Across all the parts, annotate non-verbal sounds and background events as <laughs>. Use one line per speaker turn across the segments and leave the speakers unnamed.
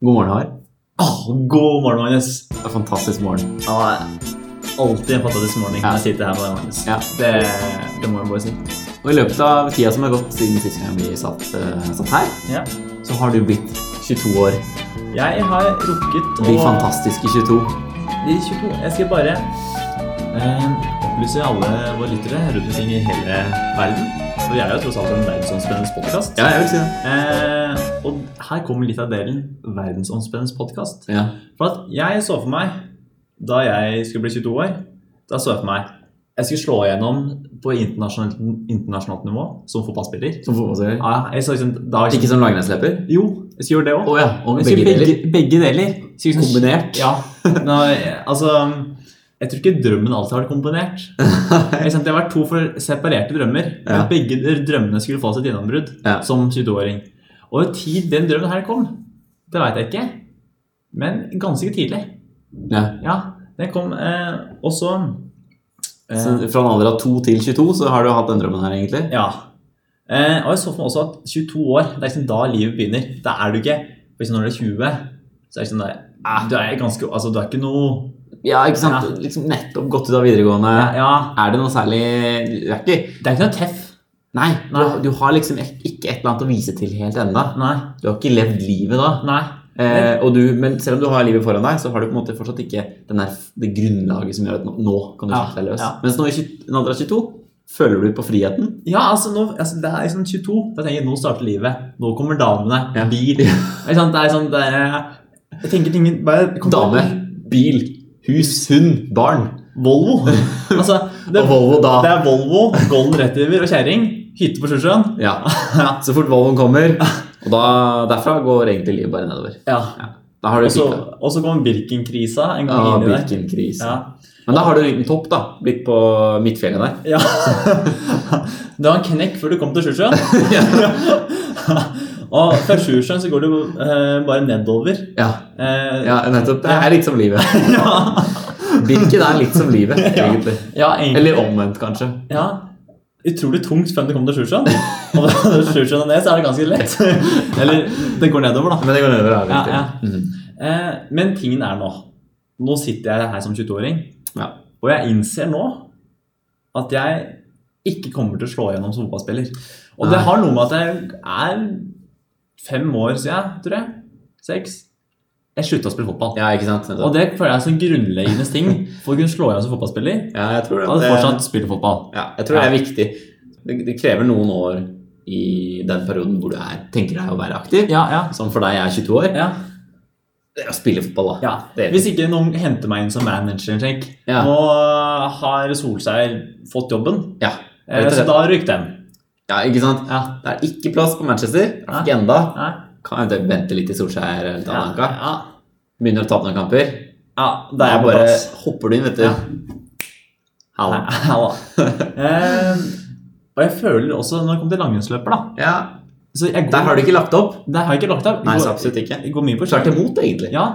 God morgen, Har.
Åh, god morgen, Magnus.
Det er en Fantastisk morgen.
Ja, alltid en fantastisk morgen når jeg sitter her med deg, Magnus.
Ja.
Det, det må jeg bare si.
Og i løpet av tida som har gått siden sist gang vi satt, eh, satt her,
Ja.
så har du blitt 22 år.
Jeg har rukket
De fantastiske 22.
De 22. Jeg skal bare eh, opplyse alle våre lyttere rundt omkring i hele verden. For vi er jo tross alt en verdensomspennende podkast.
jeg vil si det.
Eh, og her kommer litt av delen verdensomspennende podkast.
Ja.
For at jeg så for meg, da jeg skulle bli 22 år, da så jeg for meg jeg skulle slå igjennom på internasjonalt, internasjonalt nivå som fotballspiller.
Som fotballspiller.
Ja, jeg så liksom, da,
Ikke som langrennsleper?
Jo, jeg skulle gjøre det
Å
òg.
ja. Og begge deler.
begge deler. Så jeg skulle-
Kombinert.
Ja. Nå, jeg- altså Jeg tror ikke drømmen alltid har vært
<laughs>
kombinert. Jeg kjente Det har vært to for separerte drømmer. Men
Ja.
begge de drømmene skulle få sitt gjennombrudd
Ja.
som 22-åring. Og hvor tid den drømmen her kom, det veit jeg ikke. Men ganske tidlig.
Ja.
Ja, den kom eh, også eh,
Så fra en alder av 2 til 22 så har du hatt den drømmen her, egentlig?
Ja. Eh, og jeg så for meg også at 22 år, det er liksom da livet begynner. Da er du ikke Hvis når du er 20, så er det liksom der ah, Du er ganske Altså, du er ikke noe
Ja, ikke sant?
Ja.
Liksom nettopp gått ut av videregående.
Ja,
Er det noe særlig Det er ikke
det er ikke noe tøff.
Nei,
Nei.
Du, du har liksom ek- ikke et eller annet å vise til helt ennå.
Nei.
Du har ikke levd livet da.
Nei.
Eh, og du, men selv om du har livet foran deg, så har du på en måte fortsatt ikke den der, det grunnlaget som gjør at nå, nå kan du
Ja,
slippe deg løs.
ja.
Mens nå i tjue- en alder av 22 føler du på friheten.
Ja, altså, nå, altså det er liksom 22. Da tenker jeg nå starter livet. Nå kommer damene.
Ja.
Bil. Ikke sant? Det er sånn det er, Jeg tenker ting bare kom
<laughs>
på-
Dame, bil, hus, hund, barn. <laughs>
Volvo. Altså, det,
og Volvo da.
det er Volvo, Golden Retriever og kjerring. Hytte på Sjusjøen.
Ja.
<laughs>
Så fort Volvoen kommer. Og da, derfra går egentlig livet bare nedover.
Ja.
Da har du
Og så
fikk det.
og så kom Birken-krisa en gang
Ah,
inn i der.
Birken-krise.
Ja.
Men da har du en liten topp, da. Blitt på midtfjellet der.
ja. <laughs> Du har en knekk før du kom
<laughs>
til Sjusjøen. Og fra Sjusjøen så går du eh, bare nedover.
Ja,
Eh,
ja nettopp. Det er litt som livet.
<laughs> ja.
Birken er litt som livet,
<laughs> Ja.
egentlig.
Ja,
<laughs>
egentlig.
Eller omvendt, kanskje.
Ja. Utrolig tungt før du kommer til Sjusjøen. Og fra <laughs> Sjusjøen og ned så er det ganske
<laughs>
lett. Eller det går nedover, da.
Men det går nedover, da.
Ja,
riktig.
ja.
Mhm.
Eh, men tingen er nå Nå sitter jeg her som 22-åring,
Ja.
og jeg innser nå at jeg ikke kommer til å slå gjennom som fotballspiller. Og det
Nei.
har noe med at jeg er fem år siden, tror jeg. Seks. Jeg slutta å spille fotball.
Ja, ikke sant?
Og det føler jeg er en grunnleggende ting for å kunne slå gjennom som fotballspiller.
ja, jeg tror
At
det,
jeg fortsatt spiller fotball.
ja, jeg tror det er viktig. Det, det krever noen år i den perioden hvor du er, tenker deg å være aktiv.
Ja, ja.
Som for deg jeg er 22 år.
ja.
Det er å spille fotball, da.
ja.
Det-
Hvis ikke noen henter meg inn som manager, tenk.
Ja.
Nå har Solskjær fått jobben,
Ja.
eh,
Rett og
så
slett.
da rykker den.
ja, ikke sant?
Ja.
Det er ikke plass på Manchester. Det er Ikke enda.
Nei.
Kan eventuelt vente litt til Solskjær eller til
Ja,
Ananka.
ja,
Begynner å tape noen kamper.
ja, det
Da
er
bare
bare
hopper du inn, vet du.
Ja.
Halla. <laughs>
eh, Og jeg føler også, når det kommer til langrennsløper, da
Ja.
så jeg går,
Der har du ikke lagt opp.
Der har jeg ikke lagt av. Jeg
Nei,
går-
så absolutt ikke.
Jeg går mye på
Tvert imot, egentlig.
Ja,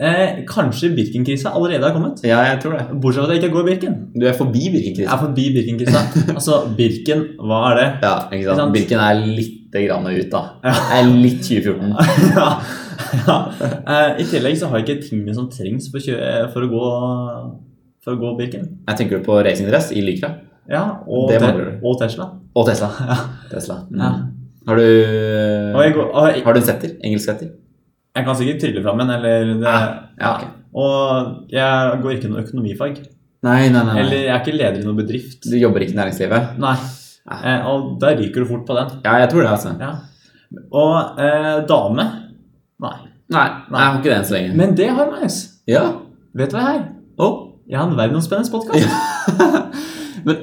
eh, Kanskje Birken-krisa allerede har kommet?
Ja, jeg tror det.
Bortsett fra at jeg ikke går Birken.
Du er forbi
Jeg
Birken-krisen.
er forbi
<laughs>
Birken-krisa. Altså, Birken, hva er det? <laughs>
Ja, ikke
Ikke
sant?
sant?
Birken er litt grann ut, da. Det er litt 2014.
ja, ja. Eh, I tillegg så har jeg ikke tingene som trengs for, å kjø- eh, for, å, gå, for å gå Birken.
Jeg tenker på racingdress i Lycra.
Ja, og,
Det
te
mangler du.
og Tesla.
Og Tesla.
Ja.
Tesla. Mm.
Ja.
Har du
Og jeg, går, og jeg,
Har du en setter? Engelsk setter?
jeg kan sikkert trylle fram en, eller det,
Ja, ok.
Og jeg går ikke noe økonomifag.
Nei, nei, nei.
Eller jeg er ikke leder i noen bedrift.
Du jobber ikke i næringslivet?
Nei.
Nei.
Eh, og der ryker du fort på den.
Ja, jeg tror det, altså.
Ja. Og eh, dame Nei.
Nei, nei, jeg har ikke det enn så lenge.
Men det har Maus.
Ja.
Vet du hva jeg er?
Å.
Oh. Jeg har en verdensomspennende podkast.
Men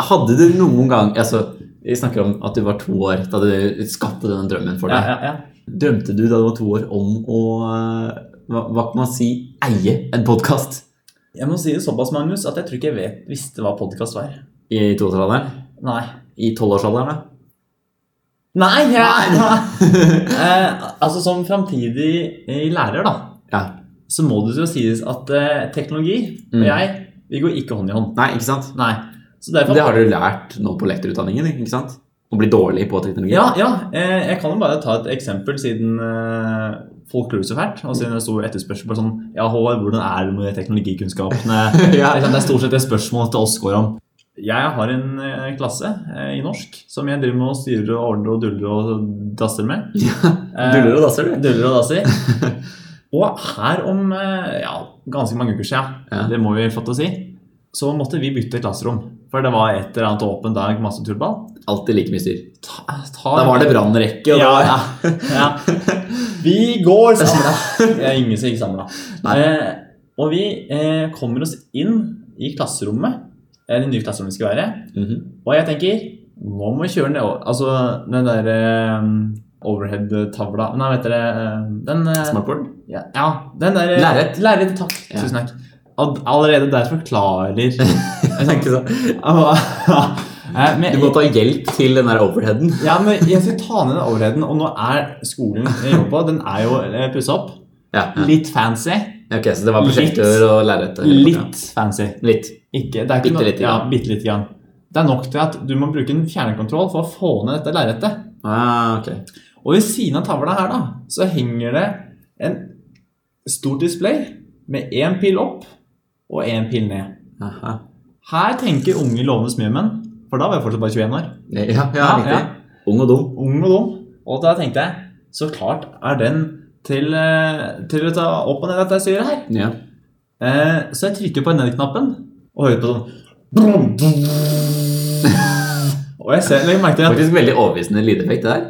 hadde du noen gang altså, Vi snakker om at du var to år da du skapte denne drømmen for
Ja,
deg.
ja, ja.
Drømte du da du var to år om å eh, hva, hva kan man si eie en podkast
Jeg må si det såpass, Magnus, at jeg tror ikke jeg vet, visste hva podkast var.
i toårsalderen?
Nei.
I tolvårsalderen, da?
Nei! Jeg, <laughs> eh, altså, som framtidig eh, lærer, da,
Ja.
så må det jo sies at eh, teknologi
Mm.
og jeg, vi går ikke hånd i hånd.
Nei, ikke sant?
Nei. Så derfor
Det har du lært nå på lektorutdanningen, ikke sant? Å bli dårlig på teknologi.
Ja, ja. eh, Jeg kan jo bare ta et eksempel siden eh, folk lurer så fælt. Og så er det en stor etterspørsel på sånn Ja, Håvard, hvordan er det med teknologikunnskapene?
<laughs> <laughs> Ja.
Det er stort sett et spørsmål til oss går om. Jeg har en eh, klasse eh, i norsk som jeg driver med og styrer og ordner og duller og dasser
<laughs>
med. Eh,
Duller og dasser, du.
Duller og
<laughs>
dasser. Og her om eh, ja, ganske mange uker siden,
Ja.
det må vi få til å si, så måtte vi bytte klasserom. For det var et eller annet åpen dag, masse tullball.
Alltid like mye styr.
Ta, ta,
Da var det brannrekke. og
Ja,
da-
ja, ja. <laughs> Vi går samla. Det er ingen som gikk samla.
Nei.
Eh, og vi eh, kommer oss inn i klasserommet, eh, det nye klasserommet vi skal være.
Mhm.
Og jeg tenker Nå må vi kjøre ned Altså den der eh, overhead-tavla Nei, vet dere eh, Den eh,
Smartboard?
Ja, ja, den der eh,
Lerret.
Lerret, takk.
Ja.
Tusen takk. All, allerede der
<laughs>
forklarer
Ikke sant?
<laughs> Eh, men-
Du må ta hjelp til den der overheaden.
Ja, men jeg skal ta ned den overheden, og nå er skolen jeg jobber på, den er jo eh, pusset opp.
Ja, ja.
Litt fancy.
Ok, Så det var
Litt.
prosjektør og lerret? og hele pakka.
Litt fancy.
Litt.
Ikke, det er ikke
Bitte
noe-
lite
Ja,
grann.
bitte lite grann. Det er nok til at du må bruke en fjernkontroll for å få ned dette lerretet.
Ah, ok.
Og ved siden av tavla her da, så henger det en stor display med én pil opp og én pil ned.
Aha.
Her tenker unge lovende smørmenn, for da var jeg fortsatt bare 21 år.
Ja, ja, riktig. Ung og dum.
ung og dum. Og da tenkte jeg, så klart er den til, eh, til å ta opp og ned dette styret her.
Ja.
Eh, så jeg trykker på ned-knappen og hører på sånn brum, brum.
<laughs>
Og jeg ser, jeg merkte at
Faktisk veldig overbevisende lydeffekt, det der.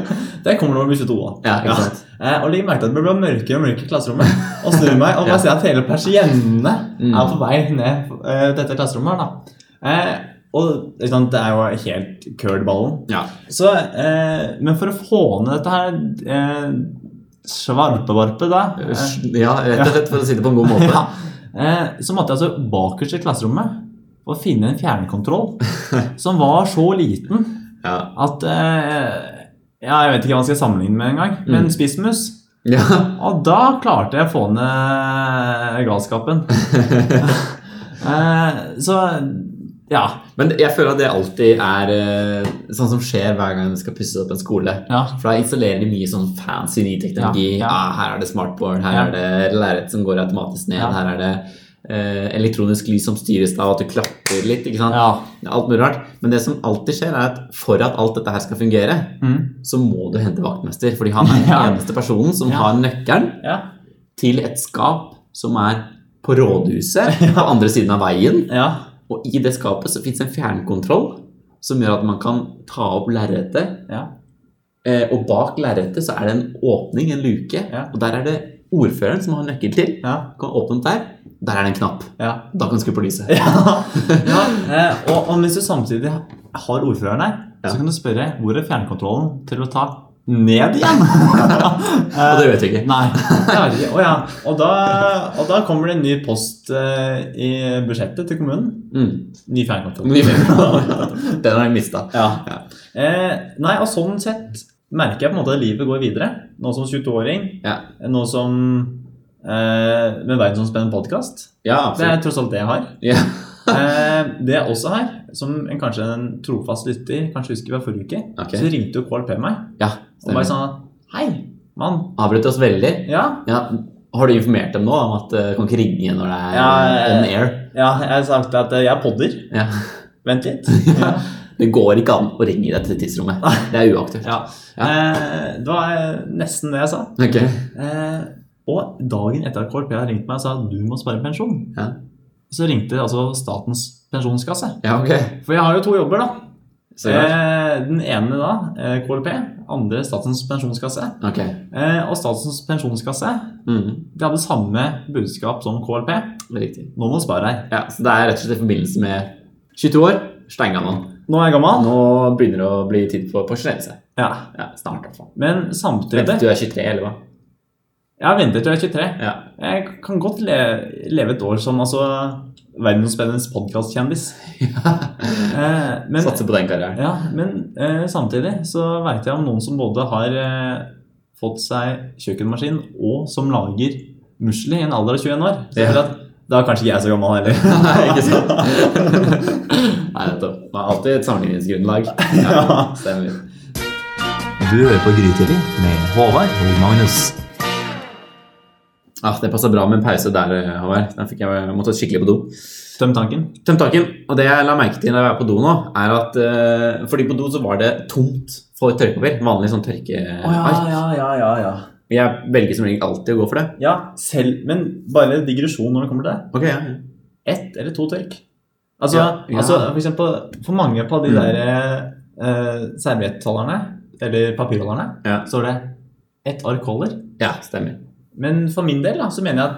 Takk! <laughs> Ja, der kommer det å bli 22 år.
Ja, ikke sant?
Eh, og jeg merkte at det ble mørkere og mørkere i klasserommet. Og snur meg
<laughs>
og
Ja.
bare ser at hele persiennene
Mm.
er på vei ned eh, dette klasserommet her, da. Eh, og ikke sant, det er jo helt curlballen.
Ja.
Så, eh, men for å få ned dette her eh, svarpevarpet da eh,
ja, rett og slett for å si det på en
<laughs>
god måte.
ja, eh, Så måtte jeg altså bakerst i klasserommet for å finne en fjernkontroll som var så liten
Ja.
at eh, ja, Jeg vet ikke hva man skal sammenligne med engang, men
Mm.
spissmus.
ja.
Og da klarte jeg å få ned galskapen. eh, så ja.
Men jeg føler at det alltid er eh, sånn som skjer hver gang det skal pusses opp en skole.
ja.
For da installerer de mye sånn fancy ny teknologi.
Ja, ja.
Ah, her er det smartboard, her
Ja.
er det lerret som går automatisk ned,
Ja.
her er det eh, elektronisk lys som styres av at du klapper litt. ikke sant?
ja.
Alt mulig rart. Men det som alltid skjer, er at for at alt dette her skal fungere,
Mm.
så må du hente vaktmester. Fordi han er den
<laughs> Ja.
eneste personen som
Ja.
har nøkkelen
ja.
til et skap som er på
<laughs>
rådhuset på andre siden av veien.
ja.
Og i det skapet så fins en fjernkontroll som gjør at man kan ta opp lerretet.
Ja.
Eh, og bak lerretet så er det en åpning, en luke,
Ja.
og der er det ordføreren som har nøkkel til.
ja.
Kan åpne der. Der er det en knapp.
ja.
Da kan du skru på lyset.
Ja, ja. eh, Og, og hvis du samtidig har ordføreren her,
Ja.
så kan du spørre hvor er fjernkontrollen til å ta ned igjen? <laughs>
Og det vet vi ikke.
Nei. det vet jeg ikke. Å ja. og, da, og da kommer det en ny post eh, i budsjettet til kommunen.
Mm.
Ny fjernkontroll.
<laughs> Den har jeg mista.
Ja. Eh, nei, og sånn sett merker jeg på en måte at livet går videre. Nå som 22-åring,
Ja.
nå som eh, med verdensomspennende podkast.
ja,
Det er
absolutt.
tross alt det jeg har.
Ja. <laughs>
Eh, det er også her, som en, kanskje en trofast lytter kanskje husker fra forrige uke,
Ok.
så ringte jo KLP meg
ja
og bare
stemmer.
sa Hei, mann.
Avbrøt oss veldig.
Ja,
Ja. Har du informert dem nå om at eh, du kan ikke ringe når det er
Ja,
eh,
ja, ja.
on air?
ja jeg har sagt at eh, jeg podder.
Ja.
Vent litt.
<laughs> Ja. Det går ikke an å ringe i dette tidsrommet. Det er uaktuelt.
Ja. Eh, det var eh, nesten det jeg sa.
Ok.
Eh, og dagen etter at KLP hadde ringt meg og sa du må spare pensjon,
Ja.
så ringte altså Statens pensjonskasse.
Ja, ok.
For jeg har jo to jobber, da.
Så rart.
Eh, den ene da, eh, KLP. Andre Statens pensjonskasse.
Ok.
Eh, og Statens pensjonskasse
Mhm,
De hadde samme budskap som KLP.
det er riktig.
Nå må du spare deg.
Ja, så det er rett og slett i forbindelse med 22 år, steingammal.
Nå er jeg gammel.
Nå begynner det å bli tid for pensjonering.
Ja.
Ja, snart, i hvert fall.
Men samtidig
Vent, du er 23, eller hva?
Jeg har ventet til jeg er 23.
Ja.
Jeg kan godt le leve et år som altså, verdensomspennende podkastkjendis. eh, men
Satser på den karrieren. <laughs>
ja, men eh, samtidig så veit jeg om noen som både har eh, fått seg kjøkkenmaskin, og som lager musli i en alder av 21 år. Så jeg
Ja.
føler at da er kanskje ikke jeg så gammel heller.
Nei, ikke sant? <laughs>
<laughs>
Nei, nettopp. Det er alltid et sammenligningsgrunnlag. Ja,
Ja.
stemmer.
<laughs> Du hører på Grytidlig med Håvard og Magnus.
Ah, det passa bra med en pause der, eh, Håvard. Den fikk jeg, jeg måtte skikkelig på do.
Tøm tanken.
Tømtaken, og det jeg la merke til når jeg var på do nå, er at eh, Fordi på do så var det tomt for tørkepapir. Vanlig sånn tørkeark.
ja, ja, ja, ja.
Jeg velger som regel alltid å gå for det.
Ja, selv, men bare digresjon når det kommer til det.
Ok, ja, ja.
Ett eller to tørk. Altså,
Ja, ja.
altså for eksempel for mange på de
Mm.
der eh, serviettholderne, eller papirholderne,
Ja.
så er det ett ark holder.
ja, stemmer.
Men for min del da, så mener jeg at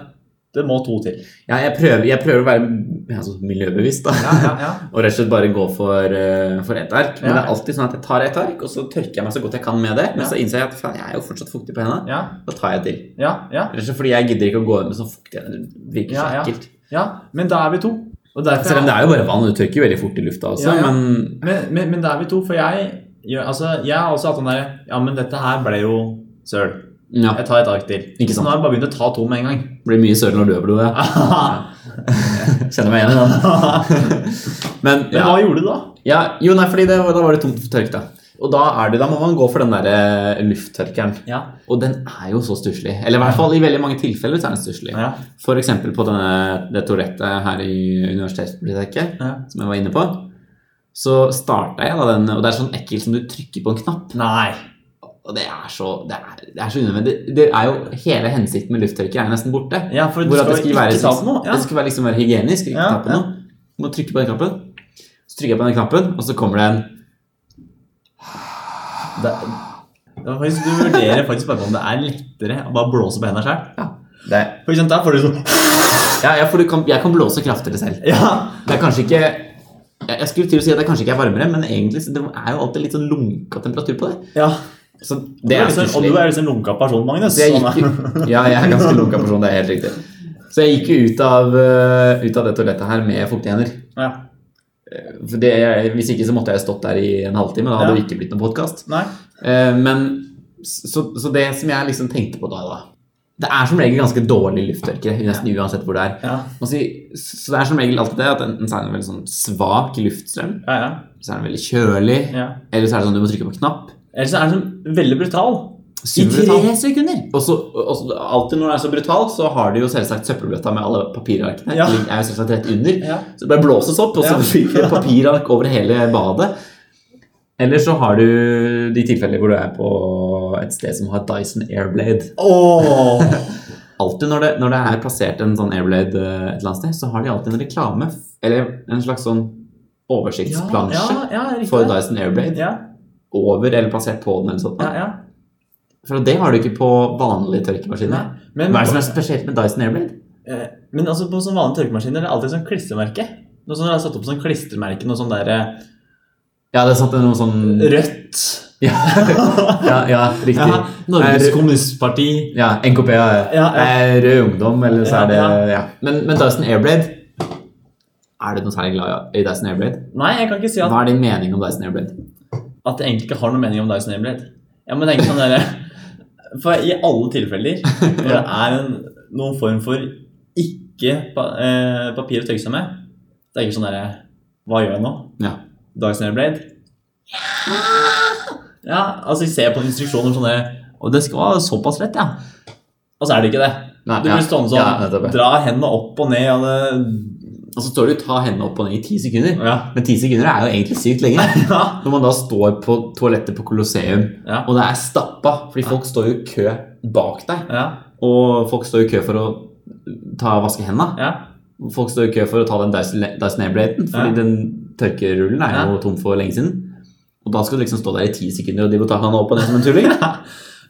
det må to til.
Ja, jeg, prøver, jeg prøver å være altså, miljøbevisst, da.
Ja, ja, ja.
Og rett og slett bare gå for, eh, for ett ark. Men
Ja.
det er alltid sånn at jeg tar ett ark, og så tørker jeg meg så godt jeg kan med det. Men
Ja.
så innser jeg at faen, jeg er jo fortsatt fuktig på hendene.
Ja,
Da tar jeg til.
ja, ja.
Rett og slett fordi jeg gidder ikke å gå rundt med sånn fuktig hender. Det virker så
Ja, ja.
ekkelt.
ja. Men da er vi to. Og
Selv om det er jo bare vann, og du tørker jo veldig fort i lufta også,
Ja, ja.
men
Men, men, men da er vi to, for jeg, jeg, altså, jeg har også hatt den derre Ja, men dette her ble jo søl.
ja,
Jeg tar et ark til.
Ikke sant.
Så nå har jeg bare begynt å ta to med en gang.
det blir mye søl når du er på do. ja. Kjenner meg igjen i den.
<laughs>
<laughs> Men,
men
ja,
hva gjorde du da?
ja, jo, nei, fordi det, var- da var det tomt for tørk, da. Og da, er det, da må man gå for den der eh, lufttørkeren.
Ja.
Og den er jo så stusslig. Eller i hvert fall i veldig mange tilfeller så er den stusslig.
Ja.
F.eks. på denne, det toalettet her i universitetsbiblioteket
Ja.
som jeg var inne på. Så starta jeg da den, og det er sånn ekkelt som du trykker på en knapp.
Nei.
Og det er så, det er, det er så unødvendig. Det, det er jo hele hensikten med lufttørker er jo nesten borte.
Ja, for du
Hvor at det
skal
skulle
ikke
være,
ta på noe. Ja.
det skulle være, liksom være hygienisk. Ikke
Ja,
ta på
ja.
noe. Du må trykke på den knappen. Så trykker jeg på den knappen, og så kommer det en
Det, det var faktisk, du vurderer faktisk bare på om det er lettere å bare blåse på hendene sjøl. For eksempel, der får du sånn
Ja, ja, for du kan, jeg kan blåse kraftigere selv.
Ja.
Det er kanskje ikke jeg, jeg skulle til å si at det kanskje ikke er varmere, men egentlig så det er jo alltid litt sånn lunka temperatur på det.
ja.
Så
Du
det er
liksom, og
stusslig.
du er liksom lunka person, Magnus.
Så jeg
Sånn,
gikk jo, ja, jeg er ganske lunka person, det er helt riktig. Så jeg gikk jo ut av, eh, ut av det toalettet her med fuktige hender.
<laughs> ja.
For det, hvis ikke så måtte jeg stått der i en halvtime, da hadde
Ja.
det ikke blitt noen podkast.
Nei.
Eh, Men så, så det som jeg liksom tenkte på da, da Det er som regel ganske dårlig lufttørkere, nesten uansett hvor det er.
Ja.
Man sier- Så det er som regel alltid det at enten så er det en veldig sånn svak luftstrøm,
Ja, ja.
så er den veldig kjølig,
ja.
eller så er det sånn du må trykke på en knapp.
Ellers så er den sånn veldig brutal.
I
Superbrutal.
tre sekunder! Og så, og så alltid når det er så brutalt, så har de jo selvsagt søppelbøtta med alle papirarkene.
Ja.
De er jo selvsagt rett under.
Ja.
Så det bare blåses opp, og så
Ja.
<laughs> fyker det papirark over hele badet. Eller så har du de tilfeller hvor du er på et sted som har Dyson Airblade.
Åh.
Alltid når det, når det er plassert en sånn Airblade eh, et eller annet sted, så har de alltid en reklame, eller en slags sånn oversiktsplansje
<laughs> Ja, ja, ja, riktig.
for Dyson Airblade
Ja,
over eller plassert på den. eller sånt.
ja, ja.
For det har du ikke på vanlige tørkemaskiner.
Nei, Men,
Hva er det som er spesielt med Dyson Airblade?
eh, men altså på sånne vanlige tørkemaskiner er det alltid sånn klistremerke. Noe sånn, jeg har satt opp sånn klistremerke, noe sånn der eh,
Ja, det er sant, det er noe sånn
rødt.
Ja, <laughs> ja, ja riktig.
Ja, Norges
Er-
kommunistparti.
Ja, NKP ja, ja.
Ja, ja.
er Rød Ungdom, eller så
Ja,
er det
ja.
ja. Men, men Dyson Airblade Er du noe særlig glad i Dyson Airblade?
Nei, jeg kan ikke si at,
Hva er din mening om Dyson Airblade?
at jeg egentlig ikke har noen mening om Dyson Airblade. Jeg må tenke sånn der, <laughs> For i alle tilfeller når det er en, noen form for ikke pa, eh, papir å tørke seg med, det er ikke sånn derre Hva gjør jeg nå?
Ja.
Dyson Airblade. Ja, altså jeg ser på instruksjoner sånn der Og det skal være såpass lett, ja. Og så er det ikke det.
Nei,
Du
ja.
blir stående
Ja,
sånn,
nettopp, ja.
dra hendene opp og ned og det
Og så står det jo 'ta hendene opp og ned' i ti sekunder.
Ja.
<laughs> Men ti sekunder er jo egentlig sykt lenge. <laughs>
Ja.
Når man da står på toalettet på Colosseum,
Ja.
og det er stappa, fordi folk står jo i kø bak deg,
ja,
og folk står i kø for å ta vaske hendene
ja.
Folk står i kø for å ta den Dyson Dyson Airbladen, fordi
Ja.
den tørkerullen er jo
Ja.
tom for lenge siden. Og da skal du liksom stå der i ti sekunder, og de må ta han opp og ned som en
<laughs>
tulling.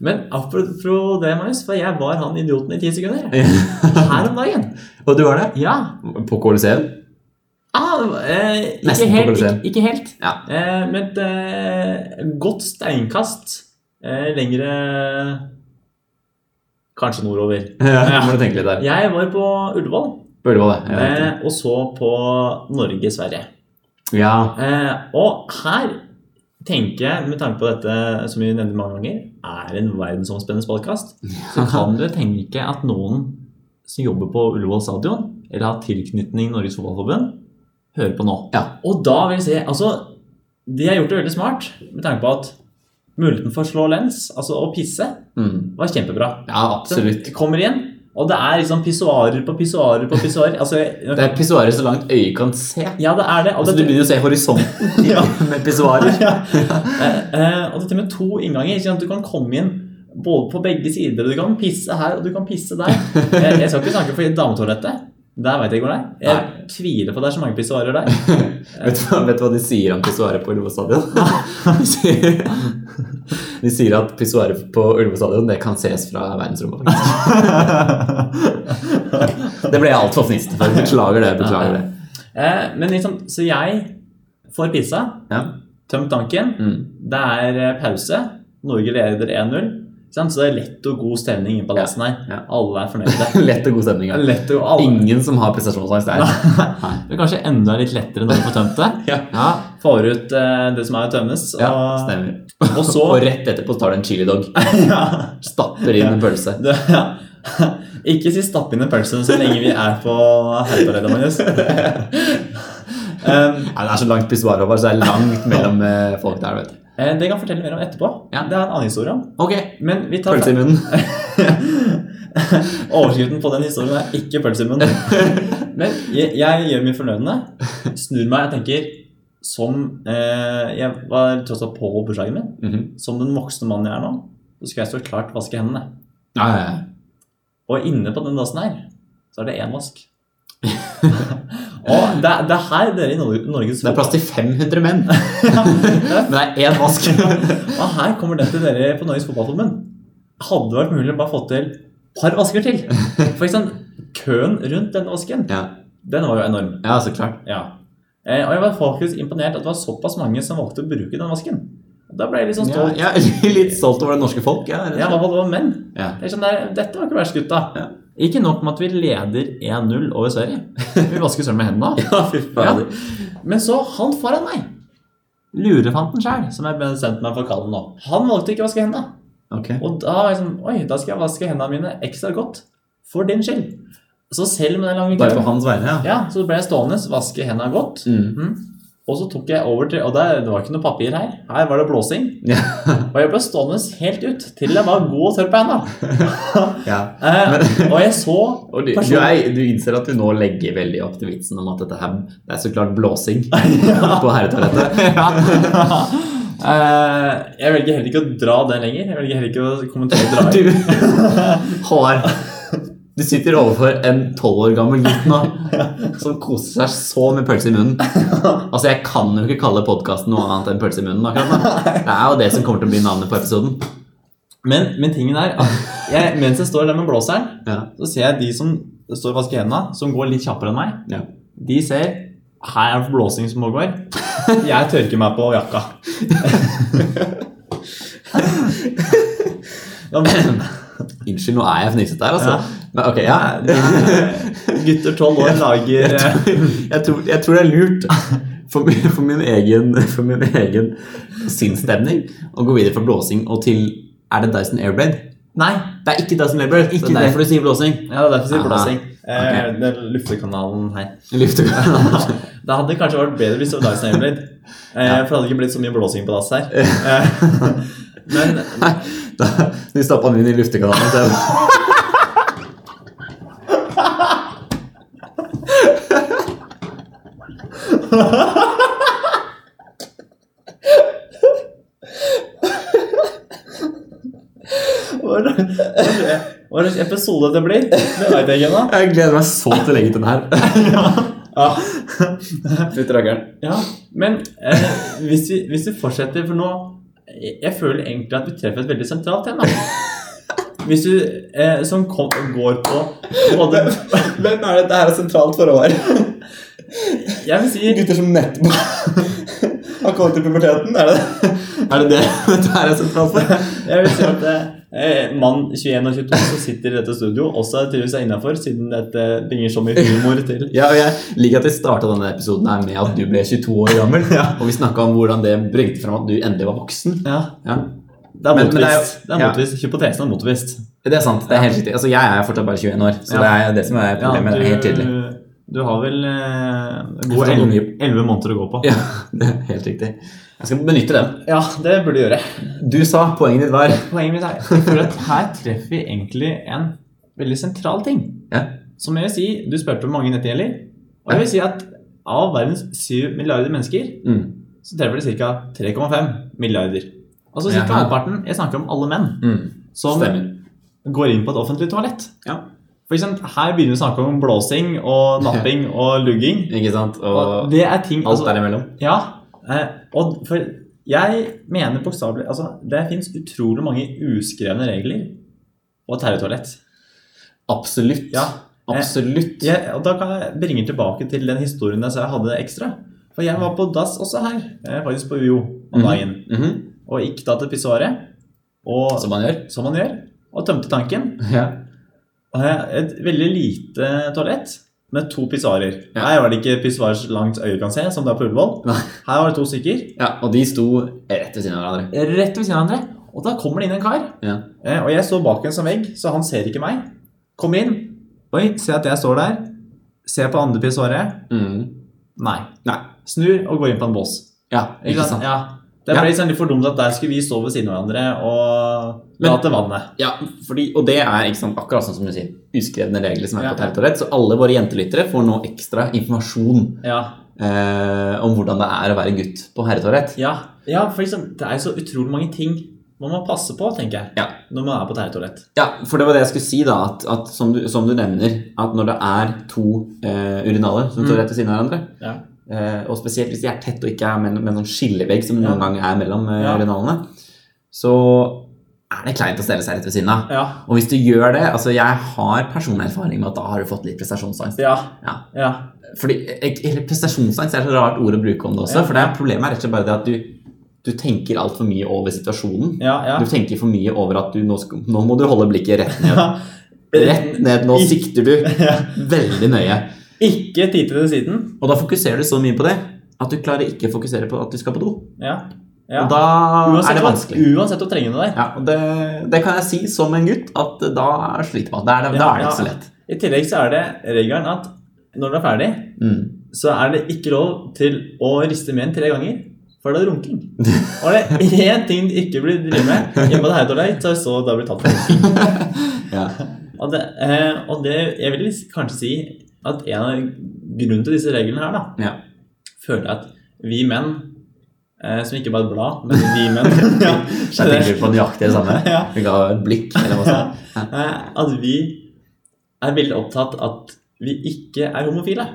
Men apropos det, Magnus, for jeg var han idioten i ti sekunder.
Her.
Her om dagen.
<laughs> og du var det?
Ja.
På Colosseum?
Ah, eh, ikke,
Nesten på
helt, ikke,
Colosseum.
ikke helt.
Ja.
Eh, men et eh, godt steinkast eh, lengre Kanskje nordover.
<laughs> ja. Må du tenke litt der.
Jeg var på Ullevål
Burde det være det. Ja, riktig.
eh, og så på Norge-Sverige.
Ja.
Eh, og her tenker jeg, med tanke på dette som vi nevnte mange ganger, er en verdensomspennende podkast,
<laughs>
så kan du tenke at noen som jobber på Ullevål stadion, eller har tilknytning til Norges Fotballforbund, hører på nå.
Ja.
Og da vil jeg si Altså, de har gjort det veldig smart, med tanke på at Muligheten for å slå lens, altså å pisse,
Mm.
var kjempebra.
Ja,
Så
absolutt.
det Kommer igjen, og det er liksom pissoarer på pissoarer på pissoarer. Altså,
<laughs> Det er pissoarer så langt øyet kan se.
ja, det er det. Og
Altså, du
det,
begynner å se
<laughs>
horisonten
Ja.
med pissoarer.
ja. Eh, eh, og det er til og med to innganger. Ikke sant? Du kan komme inn både på begge sider. og Du kan pisse her, og du kan
<laughs>
pisse der. Eh, Jeg, jeg skal ikke snakke for dametoalettet. Der veit jeg ikke hvor det er. Jeg tviler på at det er så mange pissoarer der.
Vet du, hva- vet du hva de sier om pissoaret på Ullevål stadion? <laughs> De sier- de sier at pissoaret på Ullevål stadion det kan ses fra verdensrommet. faktisk. Det ble jeg altfor fniste for. Beklager det. beklager det.
Eh, men liksom, så jeg får pissa,
Ja.
tømt tanken.
Mm.
Det er eh, pause. Norge leder 1-0. ikke sant? Så det er lett og god stemning inne på dassen her.
Ja.
Alle er fornøyde.
Lett og god stemning. ja.
Det er lett og alle.
Ingen som har prestasjonsangst der.
Det er kanskje enda litt lettere når du får tømt <laughs> det.
Ja,
Får ut eh, det som er å tømmes.
ja
og-
stemmer.
Og så
Og rett etterpå tar du en chilidog.
ja,
Stapper inn en pølse.
det, ja. Ikke si 'stapp inn en pølse' så lenge vi er på Haugalandet, Magnus. Um,
Ja, det er så langt pissoar over, så det er langt mellom eh, folk der. vet du.
eh, det kan jeg fortelle mer om etterpå.
Ja.
Det er en annen historie. om.
Ok,
Men vi tar
pølse i munnen.
Overskriften på den historien er ikke pølse i munnen. Men jeg, jeg gjør min fornødne. Snur meg og tenker som eh, Jeg var tross alt på bursdagen min.
Mhm.
Som den voksne mannen jeg er nå, så skal jeg så klart vaske hendene.
Ja, ja, ja.
Og inne på den dassen her, så er det én vask. <laughs> og det, er- det er her dere i Nor- Norges
Det er plass til 500 menn,
<laughs>
men det er én vask.
Og her kommer det til dere på Norges Fotballforbund. Hadde det vært mulig å bare få til et par vasker til. For eksempel, køen rundt denne vasken,
Ja,
den var jo enorm.
<laughs> ja så klart.
Ja. Eh, og jeg var faktisk imponert at det var såpass mange som valgte å bruke den vasken. Og Da ble jeg litt sånn
Ja,
stolt.
ja, <laughs> litt stolt over det norske folk. Ja, rett
Ja, i
og slett.
hvert fall det var menn.
ja.
Det er sånn der, dette var ikke verst, gutta.
Ja.
Ikke nok med at vi leder 1-0 over Sverige. Vi vasker søren med
<laughs>
hendene.
ja fy fader.
Men så han foran meg, lurefanten sjøl, som jeg bestemte meg for å kalle den nå, han valgte ikke å vaske hendene.
Ok.
Og da var jeg sånn Oi, da skal jeg vaske hendene mine ekstra godt. For din skyld. Så selv med den lange
Bare på
køen
hans vegne, ja.
ja, så ble jeg stående, vaske hendene godt.
Mm.
Mm. Og så tok jeg over til Og det, det var ikke noe papir her. Her var det blåsing.
Ja.
Og jeg ble stående helt ut til jeg var god og tørr på hendene.
ja.
Eh, og jeg så <laughs>
Og du, du, er, du innser at du nå legger veldig opp til vitsen om at dette her, det er så klart blåsing <laughs> på herretoalettet.
Eh, Jeg velger heller ikke å dra den lenger. Jeg velger heller ikke å kommentere draget.
Du har Du sitter overfor en tolv år gammel gutt nå som koser seg så med pølse i munnen. Altså, jeg kan jo ikke kalle podkasten noe annet enn pølse i munnen akkurat nå. <laughs> Det er jo det som kommer til å bli navnet på episoden.
Men, men tingen er at jeg, mens jeg står der med blåseren,
Ja.
så ser jeg de som står og vasker hendene, som går litt kjappere enn meg.
Ja.
De ser her er det blåsing som pågår. Jeg tørker meg på
<laughs>
jakka. Ja, men,
Unnskyld, nå er jeg fnisete her, altså.
Ja.
Men ok, ja.
gutter tolv år lager eh,
<laughs> Jeg tror, jeg tror det er lurt for, min- for, min egen, for min egen sinnsstemning å gå videre fra blåsing og til Er det Dyson Airblade?
Nei,
Det er ikke Dyson Airblade.
Ikke
det er
det.
derfor du sier blåsing.
Ja, det er derfor jeg sier
Aha.
blåsing. Eh,
Ok.
Det er luftekanalen her.
Luftekanal.
Det hadde kanskje vært bedre hvis det var Dyson Airblade. Eh, For det hadde ikke blitt så mye blåsing på
<laughs>
dass her. Eh, men
<laughs> Nei, da, de stappa den inn i luftekanalen. Så jeg,
hva er det- hva slags episode det blir, det veit jeg ikke ennå.
jeg gleder meg så til å legge ut den her.
Ja.
<laughs> Litt raggeren.
Ja, men eh, hvis, vi, hvis vi fortsetter For nå jeg, jeg føler egentlig at vi treffer et veldig sentralt tema. Hvis du eh, som kom, går på både
Hvem er dette her er sentralt for å være?
Jeg vil si
Gutter som nettopp <laughs> har kommet til puberteten? Er det er det, det <laughs> dette her er sentralt <laughs> for?
Jeg vil si at eh, mann 21 og 22 som sitter i dette studio, også tydeligvis er innafor, siden dette bringer så mye humor til.
Ja, og jeg liker at vi starta denne episoden her med at du ble 22 år
<laughs>
gammel. Og vi snakka om hvordan det bringte fram at du endelig var voksen.
Ja,
Ja,
Det er
Men- men det er jo-
motvist. Det er
ja.
motvist. Hypotesen er motvist.
Det er sant. det er helt riktig. Altså, Jeg er fortsatt bare 21 år, så
Ja.
det er det som er problemet. det er helt tydelig.
Du har vel eh, gode
Fortsatt
elleve
unge.
elleve måneder å gå på.
<laughs> Ja, det er helt riktig. Jeg skal benytte den.
Ja, det burde du gjøre.
Du sa poenget ditt var
Poenget mitt er jeg føler at her treffer vi egentlig en veldig sentral ting.
Ja.
Som jeg vil si, du spurte hvor mange dette gjelder. Og jeg vil si at av verdens 7 milliarder mennesker,
mm.
så treffer det ca. 3,5 milliarder. Altså ca.
Ja.
halvparten. Jeg snakker om alle menn
Mm.
som
Stemmer.
går inn på et offentlig toalett.
Ja.
For eksempel, her begynner vi å snakke om blåsing og
<laughs>
napping og lugging.
Ikke sant?
Og
Og
det altså- er ting
alt derimellom.
Ja. eh, Og for jeg mener bokstavelig altså, Det fins utrolig mange uskrevne regler på et herretoalett.
Absolutt.
Ja.
Absolutt.
Jeg, og da kan jeg bringe tilbake til den historien jeg sa jeg hadde ekstra. For jeg var på dass også her, eh, faktisk på UiO om
Mhm.
dagen.
Mhm.
Og gikk da til pissoaret, og-
Som man gjør.
som man gjør, og tømte tanken.
Ja.
Og jeg- Et veldig lite toalett med to pissoarer.
Ja.
Her var det ikke pissoarer så langt øyet kan se, som det er på Ullevål.
Nei.
Her var det to stykker.
ja. Og de sto rett ved siden av hverandre.
rett ved siden av hverandre. Og da kommer det inn en kar.
Ja.
Eh, Og jeg står bak en som vegg, så han ser ikke meg. Kommer inn. Oi, ser at jeg står der. Ser på andre pissoaret.
Mm.
Nei.
Nei.
Snur og går inn på en bås.
Ja,
Ikke sant? Ja. Det
Ja.
ble liksom litt for dumt at der skulle vi stå ved siden av hverandre og
Men-
la til vannet.
Ja, fordi, og det er ikke sant, akkurat sånn som du sier, uskrevne regler som er
Ja.
på territoriet. Så alle våre jentelyttere får nå ekstra informasjon
Ja.
eh, om hvordan det er å være gutt på herretoalett.
Ja, ja for liksom, det er jo så utrolig mange ting man må passe på, tenker jeg,
Ja.
når man er på territoriet.
ja, for det var det jeg skulle si, da. At, at som, du, som du nevner, at når det er to eh, urinaler som
Mm.
står rett ved siden av hverandre,
Ja.
Eh, og spesielt hvis de er tett og ikke er med, med en sånn skillevegg som
Ja.
noen gang er mellom eh,
Ja.
urinalene, så er det kleint å stelle seg rett ved siden av.
Ja.
Og hvis du gjør det altså Jeg har personlig erfaring med at da har du fått litt prestasjonsangst.
Ja.
Ja.
Ja.
Fordi, eh, eller prestasjonsangst er et så rart ord å bruke om det også.
Ja.
For det er problemet er rett og slett bare det at du, du tenker altfor mye over situasjonen.
Ja. ja.
Du tenker for mye over at du nå, skal, nå må du holde blikket rett ned.
<laughs> ja.
Rett ned,
<laughs>
nå sikter du
Ja.
veldig nøye.
Ikke ti til siden.
Og da fokuserer du så mye på det at du klarer ikke å fokusere på at du skal på do.
Ja. ja.
Og da
uansett,
er det
hva-
vanskelig.
Uansett hvor trengende det er.
Ja, og det, det kan jeg si som en gutt, at da sliter man. Da er det, da
Ja,
er det ikke
ja.
så lett.
I tillegg så er det regelen at når du er ferdig,
Mm.
så er det ikke lov til å riste med en tre ganger. For det
<laughs>
er runking. Og det er én ting du ikke blir drevet med hjemme på det her toalett, så er det så da blir du tatt for runking. <laughs>
Ja.
Og det, eh, og det jeg vil kanskje si at en av grunnen til disse reglene her, da,
Ja.
føler jeg at vi menn, eh, som ikke bare er et blad, men vi
<laughs>
menn ja, <laughs>
Jeg tenker på nøyaktig det samme.
Ja.
Vi ga et blikk eller noe sånt.
<laughs> Eh, At vi er veldig opptatt at vi ikke er homofile.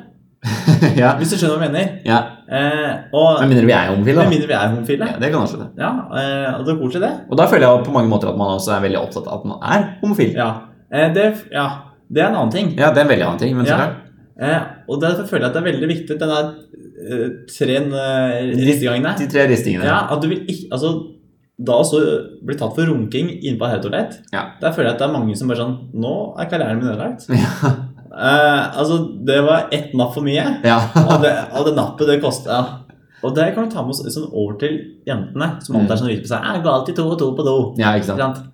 <laughs> Ja.
Hvis du skjønner hva jeg mener.
ja.
Eh, og
Med
med
mindre vi er homofile, da.
mindre vi er homofile.
Ja, det kan også det.
Ja, eh, og det er koselig, det.
Og da føler jeg på mange måter at man også er veldig opptatt av at man er homofil.
Ja. Eh, det. ja, det er en annen ting.
Ja, det er en veldig annen ting, men så
Ja.
klart.
Eh, og derfor føler jeg at det er veldig viktig, den der eh, tren eh, ristegangene.
De tre ristingene.
Ja, at du vil ikke Altså, da så bli tatt for runking inne på herretoalett,
Ja.
der føler jeg at det er mange som bare sånn Nå er karrieren min ødelagt.
Ja.
<laughs> Eh, altså, det var ett napp for mye.
Ja. <laughs>
Og det, og det nappet, det kosta. Og det kan vi ta med oss liksom over til jentene, som
Mm.
alltid er sånn rike på seg. Jeg går alltid to og to på do.
ja, ikke
Ikke
sant.
sant?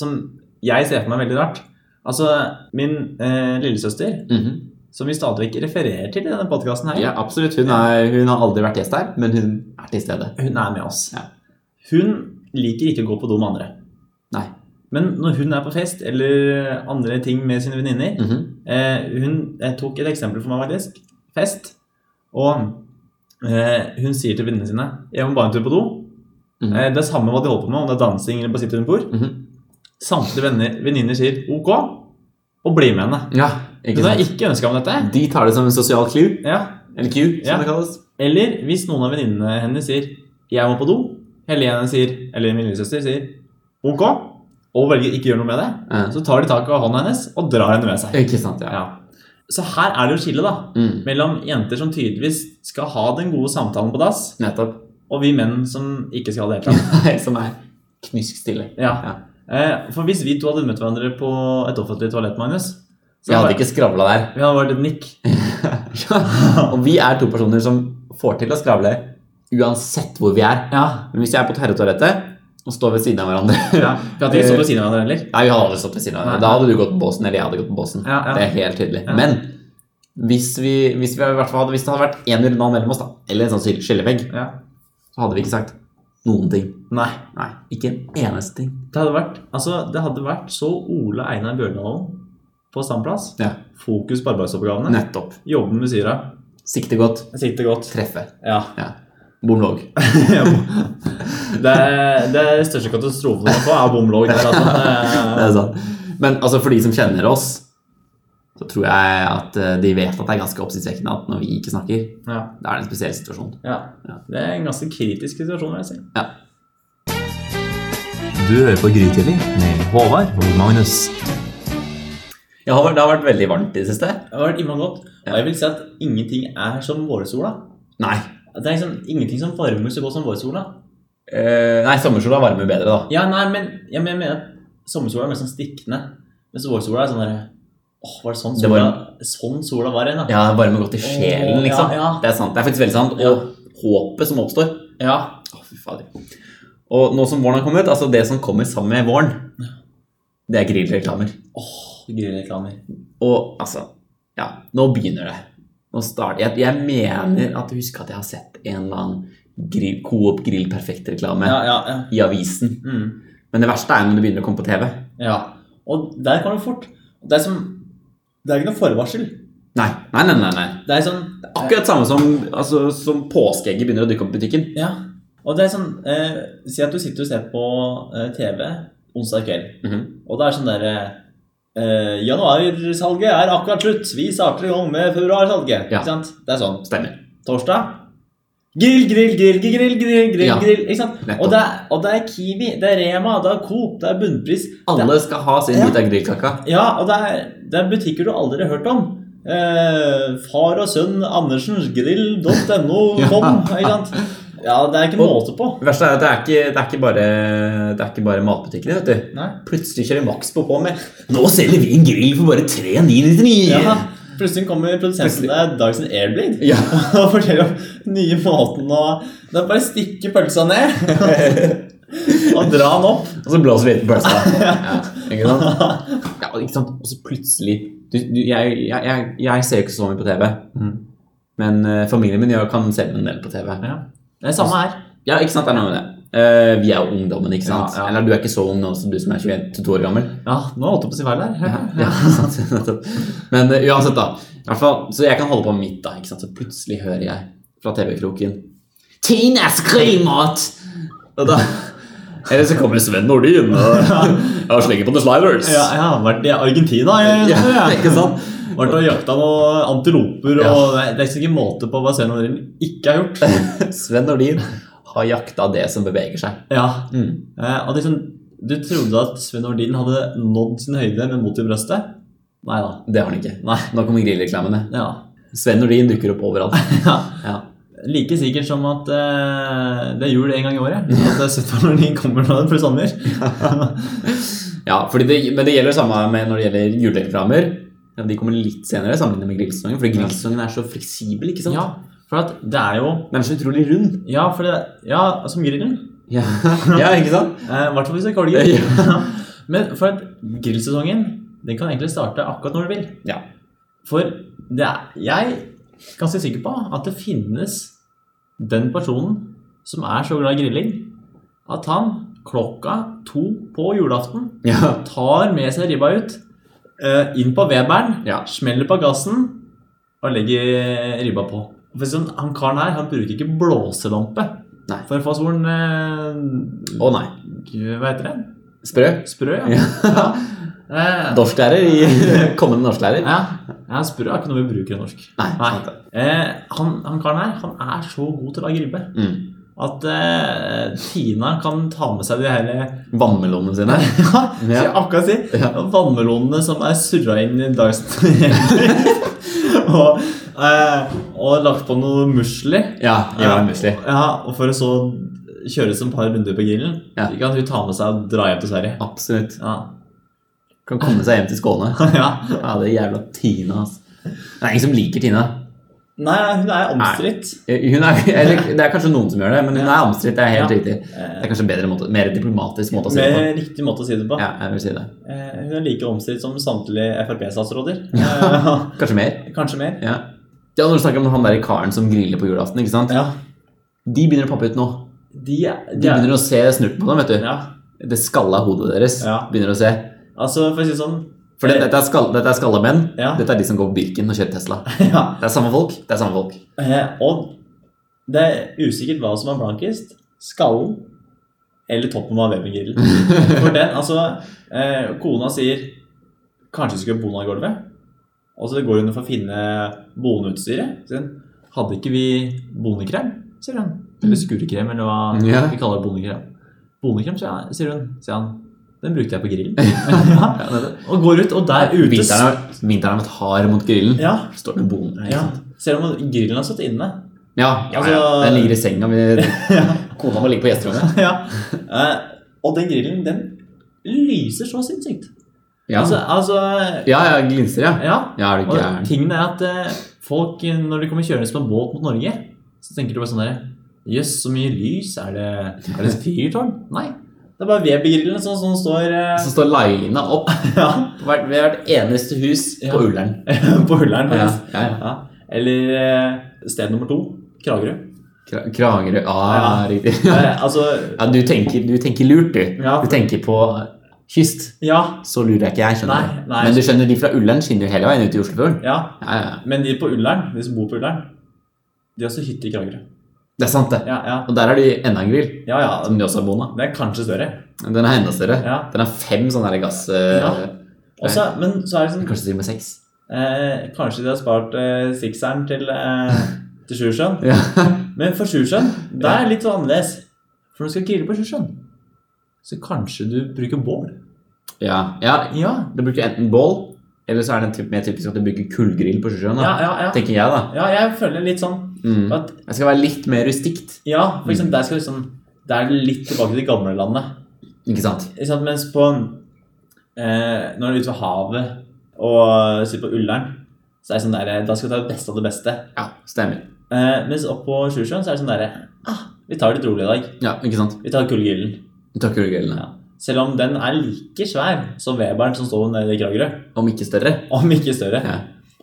Som jeg ser for meg veldig rart. Altså, min eh, lillesøster,
Mhm.
som vi stadig vekk refererer til i denne podkasten her,
Ja, absolutt. Hun, er, hun har aldri vært gjest her, men hun er til stede.
hun er med oss.
Ja.
Hun liker ikke å gå på do med andre.
Nei.
Men når hun er på fest eller andre ting med sine venninner
Mhm.
Eh, hun jeg tok et eksempel for meg, faktisk. Fest. Og eh, hun sier til venninnene sine Jeg må bare en tur på do.
Mhm.
Eh, det er samme hva de holder på med, om det er dansing eller bare sitter rundt bord.
Mhm.
Samtlige venner- venninner sier ok, og blir med henne.
Ja,
Hun
ikke
har
sant. Mm.
ikke ønska om dette.
De tar det som en sosial clue.
Ja.
Eller Q, som
Ja.
det kalles.
Eller hvis noen av venninnene hennes sier 'jeg må på do', Helene sier, eller min lillesøster sier 'ok', og velger ikke å gjøre noe med det,
Ja.
så tar de tak av hånda hennes og drar henne med seg.
Ikke sant, ja.
Ja. Så her er det jo skille, da.
Mm.
mellom jenter som tydeligvis skal ha den gode samtalen på dass,
Nettopp. <laughs>
og vi menn som ikke skal ha det hele tatt.
som er knusk stille.
Ja.
Ja.
Eh, For hvis vi to hadde møtt hverandre på et offentlig toalett, Magnus
Så jeg hadde ikke skravla der.
vi hadde vært et nikk.
<laughs> Og vi er to personer som får til å skravle uansett hvor vi er.
Ja.
Men hvis jeg er på terretoalettet og står ved siden av hverandre <laughs>
ja. Vi hadde ikke stått ved siden av hverandre heller.
Nei, vi hadde aldri stått ved siden av hverandre. Da hadde du gått på båsen, eller jeg hadde gått på båsen.
Ja, ja.
Det er helt tydelig.
Ja.
Men Hvis, vi, hvis, vi i hvert fall hadde, hvis det hadde vært en eller annen mellom oss, da, eller en sånn skillevegg,
Ja.
så hadde vi ikke sagt noen ting.
Nei.
Nei, ikke en eneste ting.
Det hadde vært, altså, det hadde vært så Ole Einar Bjørndalen på standplass.
Ja,
Fokus på arbeidsoppgavene.
Nettopp.
Jobbe med syra.
Sikte godt,
Jeg sikter godt.
treffe.
Ja. <laughs>
Ja. Bom låg.
det, er- det er største katastrofen man får, er bomlogg der.
Det
Altså.
er sant. Men altså, for de som kjenner oss, så tror jeg at eh, de vet at det er ganske oppsiktsvekkende at når vi ikke snakker,
Det- Ja.
da er det en spesiell situasjon.
Ja. Det er en ganske kritisk situasjon, vil jeg si.
Ja.
Du hører på Grytidlig med Håvard og Magnus.
Ja, Håvard, det har vært veldig varmt i det siste.
Det har vært innmari godt. Og jeg vil si at ingenting er som vårsola.
Nei.
Det er liksom ingenting som varmer så godt som vårsola.
Eh, nei, sommersola varmer bedre, da.
Ja, nei, men ja, men jeg mener at sommersola er mest sånn stikkende. Mens vårsola er sånn derre Åh, var det sånn
Det
sola,
var-
sånn sola var igjen, da?
Ja, det varmer godt i sjelen,
Åh,
liksom.
ja, ja.
Det er sant. Det er faktisk veldig sant. Og
Ja.
håpet som oppstår.
Ja.
Å, fy fader. Og nå som våren har kommet, altså det som kommer sammen med våren, det er grillreklamer.
Åh, grillreklamer.
Og altså Ja, nå begynner det. Nå starter jeg, jeg mener at du husker at jeg har sett en eller annen grill, Coop Grill Perfekt-reklame
Ja, ja, ja.
i avisen.
Mm.
Men det verste er når det begynner å komme på TV.
ja. Og der kommer det fort. Det er som Det er ikke noe forvarsel.
Nei, nei, nei. nei, nei.
Det er sånn
Akkurat samme som, altså, som påskeegget begynner å dukke opp i butikken.
Ja. Og det er sånn eh, Si at du sitter og ser på eh, TV onsdag kveld,
Mhm.
og det er sånn derre eh, Januarsalget er akkurat slutt. Vi starter i gang med februarsalget.
Ja.
Ikke sant? Det er sånn.
Stemmer.
Torsdag. Grill, grill, grill, grill, grill, grill, grill,
Ja.
grill. Ikke sant?
Nettopp.
Og det, er, og det er Kiwi, det er Rema, det er Coop, det er Bunnpris.
Alle skal ha sin
Ja.
bit av grillkaka.
Ja, og det er, det er butikker du aldri har hørt om. Eh, far og sønn Andersens grill.no
<laughs>
kom, ikke sant? Ja, det er ikke måte på.
Det verste er at det er ikke, det er ikke bare, det er ikke bare matbutikkene, vet du.
Nei.
Plutselig kjører Maxbo på med Nå selger vi en grill for bare 3999!
Ja, plutselig kommer produsenten der, Dyson Airblade,
Ja.
<laughs> og forteller om den nye måten å Det er bare å stikke pølsa
<laughs>
ned <laughs> og dra den opp.
Og så blåser vi etter pølsa. <laughs> Ja, ikke sant? Ja, ikke sant? Og så plutselig du, du, jeg, jeg, jeg, jeg ser jo ikke så mye på TV, men eh, familien min jeg kan se en del på TV.
Ja. Det er samme her.
Ja, ikke sant? Det er noe med det. Eh, vi er jo ungdommen, ikke sant?
Ja, ja.
Eller du er ikke så ung nå som du som er 21-22 år gammel.
Ja, nå holdt jeg på å si feil
Ja,
her.
<laughs> ja, sant, nettopp. Men eh, uansett, da. I hvert fall, så jeg kan holde på med mitt, da. ikke sant? Så plutselig hører jeg fra TV-kroken Tinas grillmat! Og da Eller så kommer Sven Nordin og
<laughs>
ja, slenger på The Sliders.
Ja, jeg har vært i Argentina. Jeg,
Ja,
jeg,
ikke sant?
<laughs> Vært og jakta noen antiloper,
Ja.
og det er- det er ikke måte på hva Svein Nordin ikke
<laughs>
har gjort.
Sven Nordin har jakta det som beveger seg.
Ja,
Mm.
eh, og liksom, Du trodde at Svein Nordin hadde nådd sin høyde med mot i brøstet? Nei da.
Det har han ikke. Nei, Nå kommer grillreklamene.
Ja. <laughs>
Sven Nordin dukker opp overalt.
ja.
Ja.
Like sikkert som at eh, det er jul en gang i
<laughs>
året. At eh, Svein Nordin kommer når det blir sommer.
ja, fordi det, Men det gjelder det samme med når det gjelder julereklamer. Ja, de kommer litt senere sammenlignet med grillsesongen, fordi grillsesongen er så fleksibel. ikke sant?
Ja, for at det er jo
Den er så utrolig rund.
Ja, for det, ja som grillen.
Ja, <laughs> ikke sant?
Eh, I hvert fall hvis det
<laughs>
er kolger. Men for at grillsesongen den kan egentlig starte akkurat når du vil.
Ja.
For det er, jeg er ganske sikker på at det finnes den personen som er så glad i grilling at han klokka to på julaften
Ja.
tar med seg ribba ut, eh, inn på Weberen,
Ja.
smeller på gassen og legger ribba på. For sånn, han karen her han bruker ikke blåselampe
Nei.
for å få solen eh,
Å nei.
Hva heter det?
Sprø.
Sprø, ja.
Ja.
<laughs> Eh,
Norsklærer <laughs> i kommende norsklærer.
ja. ja sprø er ikke noe vi bruker i norsk.
Nei.
Nei.
sant det.
Eh, han, han karen her han er så god til å lage ribbe
Mm.
at eh, Tina kan ta med seg de hele
Vannmelonene sine.
Ja, <laughs> skal jeg akkurat si.
Ja.
Vannmelonene som er surra inn i Dyson. <laughs> og, eh, og lagt på noe musli.
Ja, ja. musli.
Ja, og for å så kjøre et par runder på grillen.
Ja. Ah.
Så kan hun ta med seg og dra hjem til Sverige.
Absolutt.
Ja.
Kan komme seg hjem til Skåne.
ja. <laughs>
Ja, det er jævla Tina, ass. Det er ingen som liker Tina.
Nei, hun er omstridt.
Hun er, eller, det er kanskje noen som gjør det, men hun er omstridt. Det er helt
Ja.
riktig. Det er
Eh,
kanskje en bedre måte, mer diplomatisk måte å si det på.
Mer riktig måte å si det på.
Ja, jeg vil si det.
Eh, Hun er like omstridt som samtlige
<laughs>
Frp-statsråder. Eh,
Kanskje mer.
Kanskje mer.
Ja. ja, når du snakker om han der karen som griller på julaften, ikke sant.
Ja.
De begynner å pappe ut nå.
De, er-
De
de er
begynner å se snurten på dem, vet du.
ja.
Det skalla hodet deres
Ja.
begynner å se.
Altså, for å si det sånn
For det, dette, er skall, dette er skalla menn.
Ja.
Dette er de som går på Birken og kjører Tesla.
<laughs> ja.
Det er samme folk. Det er samme folk.
Eh, Og det er usikkert hva som er blankest. Skallen eller toppen av babygrillen.
<laughs>
For den, altså eh, Kona sier kanskje du skulle ha bonagulvet. Og så går hun for å finne boneutstyret. Så sier hun, Hadde ikke vi bonekrem? sier hun. Eller skurekrem, eller
<laughs>
hva
Ja.
vi kaller bonekrem. Bonekrem, sier han- sier hun. Sier han. Den brukte jeg på
<laughs> Ja,
grillen.
det, det.
og går ut, og der ute
Vinteren, har, vinteren har vært hard mot grillen.
ja,
Står det boner der, ikke
ja.
sant?
Selv om grillen har stått inne.
Ja, ja, ja.
Altså-
Den ligger i senga.
<laughs>
Vi, kona må ligge på gjesterommet. <laughs>
ja. <laughs> Eh, og den grillen, den lyser så sinnssykt.
Ja,
Altså, altså
ja, ja glinser, ja.
Ja.
Ja, er du
Og
gæren.
tingen er at eh, folk, eh, når de kommer kjørende på en båt mot Norge, så tenker du bare sånn derre Jøss, så mye lys. Er det, er det et fyrtårn? <laughs> Nei. Det er bare Weber-grillen som, som står eh,
<laughs> Så står lina opp
ja,
på hvert, ved hvert eneste hus
Ja.
på Ullern.
<laughs> på Ullern.
Ja,
faktisk.
ja, ja.
Ja. Eller eh, sted nummer to, Kragerø.
<laughs> Kra- Kragerø ah,
Ja.
riktig. <laughs>
Eh, altså
Ja, du tenker, du tenker lurt, du.
Ja.
Du tenker på kyst.
Ja.
Så lurer jeg ikke jeg, skjønner
Nei,
du.
nei.
Men du skjønner, de fra Ullern skinner jo hele veien ut i Oslofjorden.
ja.
Ja, ja.
Men de på Ullern, de som bor på Ullern, de har også hytte i Kragerø.
Det er sant, det.
Ja, ja.
Og der har de enda en grill,
Ja, ja.
som de også har boende.
Det er kanskje større.
Den er enda større.
Ja.
Den har fem sånne der gass... eh,
Ja. Også, men så er det sånn
Kanskje til og med seks.
eh, Kanskje de har spart eh, sikseren til, eh, til Sjusjøen.
Ja.
Men for Sjusjøen, det er litt sånn annerledes. For når du skal grille på Sjusjøen, så kanskje du bruker bål.
<laughs> ja. ja.
Ja,
Du bruker enten bål, eller så er det typ, mer typisk at du bruker kullgrill på sjøen.
ja,
da.
ja. ja.
Tenker jeg, da.
ja jeg føler litt sånn
Mm.
at
Jeg skal være litt mer rustikt.
Ja, for eksempel, der skal liksom Der er det litt tilbake til gamlelandet.
Ikke sant?
Ikke sant? Mens på eh, Når du er ute ved havet og sitter på Ullern, så er det sånn der, da skal du ta det beste av det beste.
Ja, stemmer.
Eh, mens oppå Sjusjøen så er det sånn derre ah, Vi tar det litt rolig i dag.
Ja, ikke sant?
Vi tar kullgrillen.
Du tar kullgrillen.
Ja. Selv om den er like svær som Weberen som står nede i Kragerø.
Om ikke større.
Om ikke større.
Ja.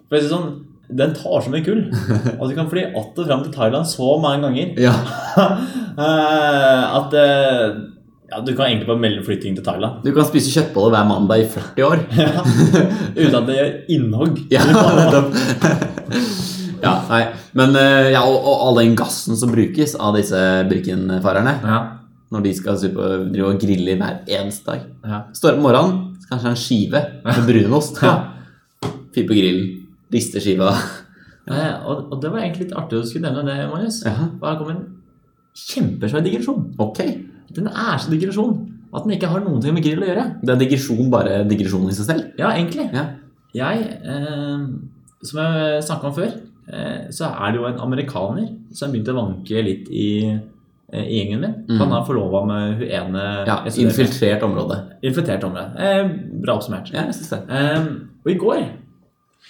For å si det sånn, den tar så mye
<laughs>
kull at du kan fly att og fram til Thailand så mange ganger <laughs>
Ja.
eh, at eh, ja, du kan egentlig bare melde flytting til Thailand. <laughs>
Du kan spise kjøttboller hver mandag i 40 år.
Ja. Uten at det gjør innhogg.
Ja, nettopp. <laughs> ja, nei. Men eh, ja, og, og all den gassen som brukes av disse Birkenfarerne
Ja,
når de skal super- drive og grille hver eneste dag.
ja.
Står opp om morgenen, så kanskje en skive med
<laughs>
brunost. Ja. Fyr på grillen, rister skiva. <laughs>
Eh, og, og det var egentlig litt artig at du skulle nevne det, Magnus.
Ja,
For her kom en kjempesvær digresjon.
ok.
Den er så digresjon at den ikke har noen ting med grill å gjøre.
Det er digresjon, bare digresjon i seg selv.
Ja, egentlig.
Ja.
Jeg, eh, som jeg snakka om før, eh, så er det jo en amerikaner som begynte å vanke litt i, eh, i gjengen min.
Mm.
Han er forlova med hun ene
Ja,
jeg studerer med.
Infiltrert område.
Infiltrert om det. Eh, bra oppsummert.
Ja, jeg synes det.
Eh, og i går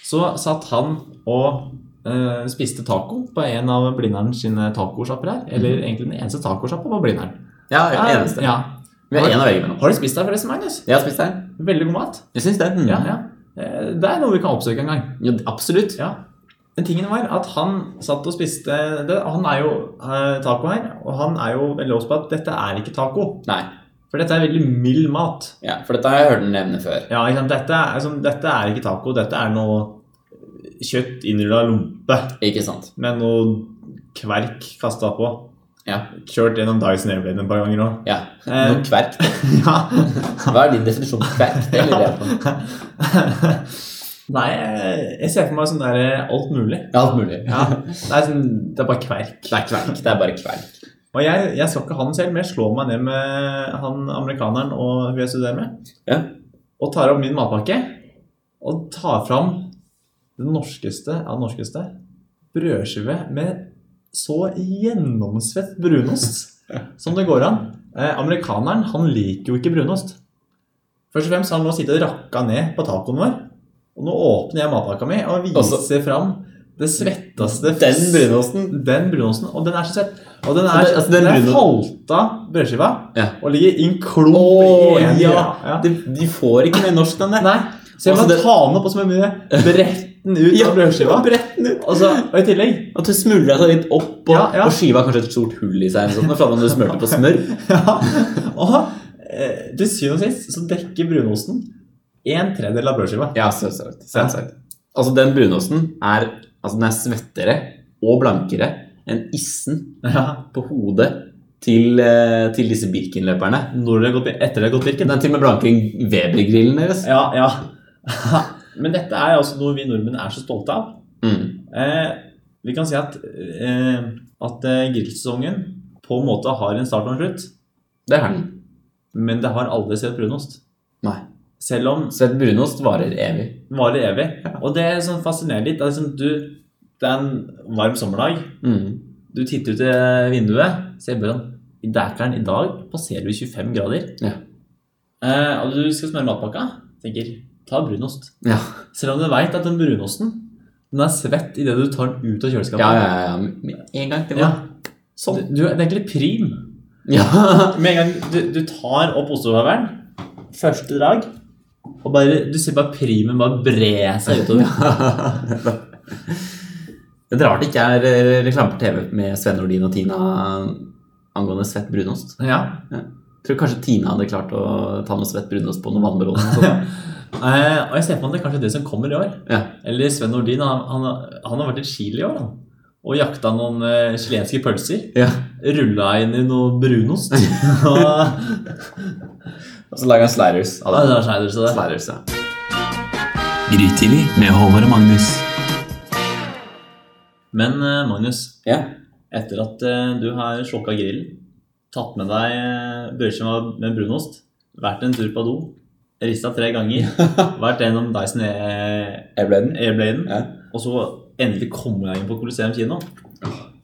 så satt han og eh, spiste taco på en av Blindern sine tacosjapper her. Eller egentlig den eneste tacosjappa på Blindern.
Ja, Mhm. det eneste.
Ja.
Vi er en av veggene nå.
Har du spist der forresten, Magnus?
Jeg har spist den.
Veldig god mat.
Jeg syns den.
Ja, ja. Eh, Det er noe vi kan oppsøke en gang.
Mm. Ja, absolutt.
Ja. Men tingen var at han satt og spiste det. Han er jo eh, taco her, og han er jo veldig obs på at dette er ikke taco.
Nei.
For dette er veldig mild mat.
Ja, for dette har jeg hørt den nevne før.
Ja, ikke sant? Dette, er- altså, dette er ikke taco. Dette er noe kjøtt innrulla lompe
Ikke sant.
med noe kverk kasta på.
Ja.
Kjørt gjennom Dyson Airblade et par ganger òg.
Ja.
Eh. <laughs>
Noe kverk.
Ja.
Hva er din definisjon på kverk? Det lurer jeg på.
Nei, jeg ser for meg sånn der eh, alt mulig.
Alt mulig.
Ja. Det, er sånn, det er bare kverk.
Det er kverk. Det er bare kverk.
Og jeg, jeg skal ikke han selv, men jeg slår meg ned med han amerikaneren og hun jeg studerer med.
Ja.
Og tar opp min matpakke og tar fram det norskeste av det norskeste. Brødskive med så gjennomsvett
<laughs>
brunost som det går an. Eh, amerikaneren han liker jo ikke brunost. Først og fremst har han nå sittet og rakka ned på tacoen vår. Og nå åpner jeg matpakka mi og
Og
viser fram Det svetteste
Den brunosten.
Den brunosten, og den er så svett. Og den
Og
er,
det- altså, den
den er
bruno-
falt av brødskiva
Ja.
og ligger i en klump.
Å,
i en-
ja.
ja.
De, de får ikke mer norsk, den der.
Nei, så jeg må
Altså, det-
ta den opp og så må jeg brette den ut av brødskiva.
og brett den ut.
Og, så, og i tillegg
At du smuldra seg litt opp, og,
Ja, ja.
og skiva har kanskje et stort hull i seg. eller Sånn, for at du smørte på smør.
<laughs> ja, Og eh, til syvende og sist så dekker brunosten en tredjedel av brødskiva.
Ja, selvsagt. selvsagt. Altså, den brunosten er, altså, den er svettere og blankere enn issen
Ja.
på hodet til, eh, til disse Birken-løperne.
Når det har gått, etter det har gått virket.
Den er til og med blankere enn Weber-grillen deres.
Ja, <laughs> ja. Men dette er altså noe vi nordmenn er så stolte av.
Mm.
Eh, vi kan si at, eh, at eh, grillsesongen på en måte har en start og en slutt,
Det er den.
men det har aldri sett brunost.
Nei.
Selv om
Svett brunost varer evig.
den varer evig. Og det er sånn fascinerer litt. Det er, liksom, du, det er en varm sommerdag.
Mm.
Du titter ut i vinduet, ser børen. I dækeren i dag passerer vi 25 grader.
Ja.
Eh, og du skal smøre matpakka. Tenker ta brunost.
Ja.
Selv om du veit at den brunosten den er svett idet du tar den ut av
Ja,
kjøleskapet.
ja, ja, ja. Med en gang til nå.
Ja.
Sånn.
Du, du, det er egentlig prim.
Ja. <laughs>
Med en gang du, du tar opp ostehøvelen, første drag, og bare, du ser bare primen bare bre seg utover.
<laughs> Det er rart det ikke er eh, reklame på TV med Sven Nordin og Tina angående svett brunost.
Ja.
Tror kanskje Tina hadde klart å ta noe svett brunost på noen vannmelon. og sånn.
Eh, og jeg ser for meg at det er kanskje det som kommer i år.
Ja.
Eller Sven Nordin, han, han, han har vært i Chile i år, han. Og jakta noen eh, chilenske pølser.
ja.
Rulla inn i noe brunost. <laughs> og,
Og <laughs> så lager han sliders av
ja,
det.
det er Schneider, så det.
Sliders, ja. Grytidlig med Håvard og Magnus.
Men eh, Magnus,
Ja.
Etter at eh, du har slokka grillen, tatt med deg eh, brødskiva med brunost, vært en tur på do, rista tre
<laughs>
ganger, vært gjennom Dyson E-
Jeg ble den.
Airbladen,
Ja.
og så endelig kommer jeg inn på Colosseum kino,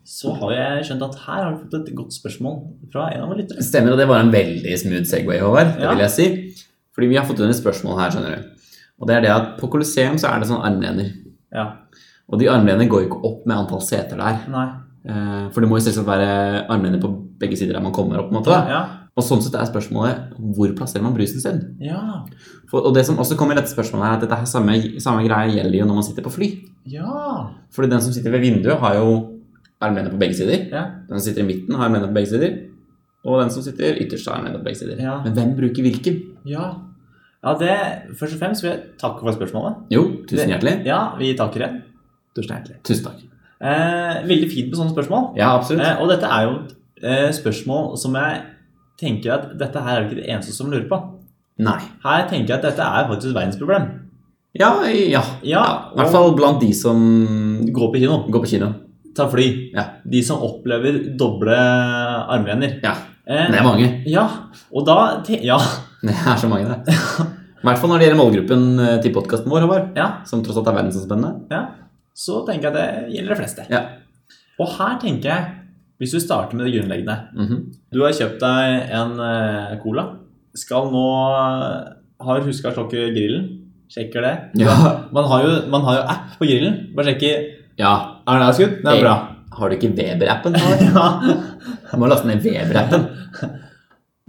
så har jeg skjønt at her har du fått et godt spørsmål fra en av våre lyttere.
Stemmer, og det var en veldig smooth segway, Håvard. Det
Ja.
vil jeg si. Fordi vi har fått inn et spørsmål her, skjønner du. Og det er det at på Colosseum så er det sånn armlener.
Ja.
Og de armlenene går jo ikke opp med antall seter der.
Nei.
Eh, For det må jo selvsagt være armlener på begge sider der man kommer opp. på en måte. da.
Ja.
Og sånn sett er spørsmålet hvor plasserer man brusen sin?
Ja.
For, og det som også kommer i dette spørsmålet er at dette her samme, samme greia gjelder jo når man sitter på fly.
Ja.
Fordi den som sitter ved vinduet, har jo armlener på begge sider.
Ja.
Den som sitter i midten, har armlener på begge sider. Og den som sitter ytterst, har armlener på begge sider.
Ja.
Men hvem bruker hvilken?
Ja. Ja, det, først og fremst vil jeg takke for spørsmålet.
Jo, tusen hjertelig.
Ja, vi takker igjen.
Tusen hjertelig. Tusen takk.
Eh, veldig fint med sånne spørsmål.
Ja, absolutt.
Eh, og dette er jo et eh, spørsmål som jeg tenker at dette her er jo ikke det eneste som lurer på.
Nei.
Her tenker jeg at dette er faktisk et verdensproblem.
Ja, ja.
Ja,
I hvert fall blant de som
Gå på kino,
går på kino.
ta fly.
Ja.
De som opplever doble armlener.
Ja.
Eh,
Det er mange. <laughs>
ja, og da te ja,
Det er så mange, det. I hvert fall når det gjelder målgruppen eh, til podkasten vår, Håvard.
ja,
Som tross alt er verdensomspennende.
ja, så tenker jeg at det gjelder de fleste.
Ja.
Og her tenker jeg, hvis du starter med det grunnleggende
Mhm.
Du har kjøpt deg en eh, cola. Skal nå eh, Har huska å slokke grillen. Sjekker det.
ja.
Man har, jo, man har jo app på grillen. Bare sjekke
ja. Eh,
Er det skudd? Det er bra.
Har du ikke Weber-appen? Håvard? <laughs>
<laughs> Ja.
Du må laste ned Weber-appen. <laughs>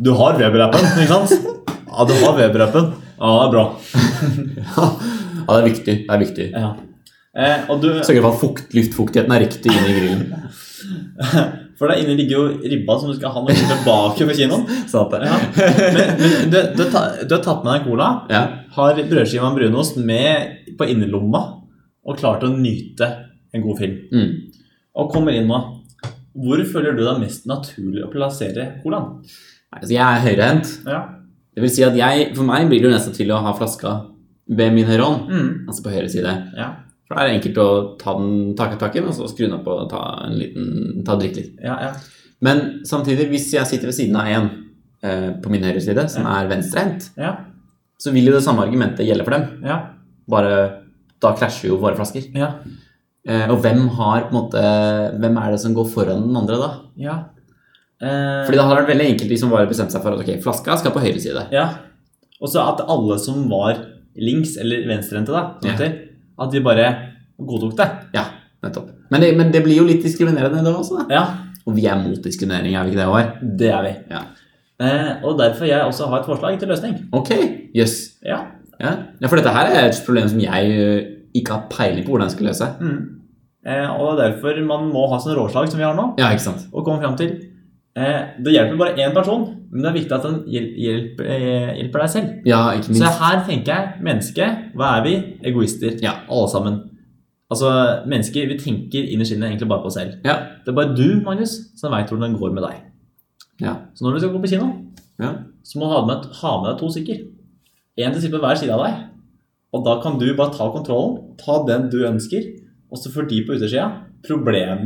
Du har Weber-appen, ikke sant? Ja, du har Weber-appen. Ja, det er bra.
ja, det er viktig. det er viktig.
Ja. Eh, og du,
Sørge for at fukt, luftfuktigheten er riktig inne i grillen.
for der inne ligger jo ribba som du skal ha når du kommer tilbake på
<laughs>
kinoen.
Sånn at det...
Ja. Men, men du, du, har ta- du har tatt med deg en cola,
Ja.
har brødskiva med brunost med på innerlomma og klart å nyte en god film.
Mm.
Og kommer inn nå. Hvor føler du deg mest naturlig å plassere colaen?
Nei, Altså, jeg er høyrehendt.
Ja.
Det vil si at jeg, for meg blir det jo nesten til å ha flaska ved min høyre hånd.
Mm.
Altså på høyre side.
Ja.
For da er det enkelt å ta den taket-taken, og så skru den opp og ta en liten, ta og drikke litt.
Ja, ja.
Men samtidig, hvis jeg sitter ved siden av en eh, på min høyre side, som
Ja.
er venstrehendt,
Ja.
så vil jo det samme argumentet gjelde for dem.
Ja.
Bare da krasjer jo våre flasker.
Ja.
Eh, og hvem har på en måte Hvem er det som går foran den andre, da?
ja. Eh,
Fordi da hadde det vært veldig enkelt hvis man bare bestemte seg for at ok, flaska skal på høyre side.
ja. Og så at alle som var links, eller venstrehendte, da, sånn som
Ja.
heter, at de bare godtok det.
Ja. Nettopp. Men det, men det blir jo litt diskriminerende da også, da.
Ja,
Og vi er mot diskriminering, er vi ikke det, Håvard?
det er vi.
Ja.
Eh, og derfor jeg også har et forslag til løsning.
Ok, jøss. Yes.
Ja.
Ja. ja, for dette her er et problem som jeg ø, ikke har peiling på hvordan jeg skal løse.
Mm. Eh, og det er derfor man må ha sånne råslag som vi har nå,
Ja, ikke sant?
og komme fram til. Eh, det hjelper bare én person, men det er viktig at den hjel- hjelper, eh, hjelper deg selv.
Ja, ikke
Så
minst.
her tenker jeg menneske, hva er vi? Egoister.
Ja.
Alle sammen. Altså, mennesker, vi tenker innerst inne egentlig bare på oss selv.
Ja.
Det er bare du, Magnus, som veit hvordan den går med deg.
Ja.
Så når du skal gå på kino,
Ja.
så må du ha med, ha med deg to stykker. Én til å sitte på hver side av deg. Og da kan du bare ta kontrollen. Ta den du ønsker. Og så får de på utersida problemer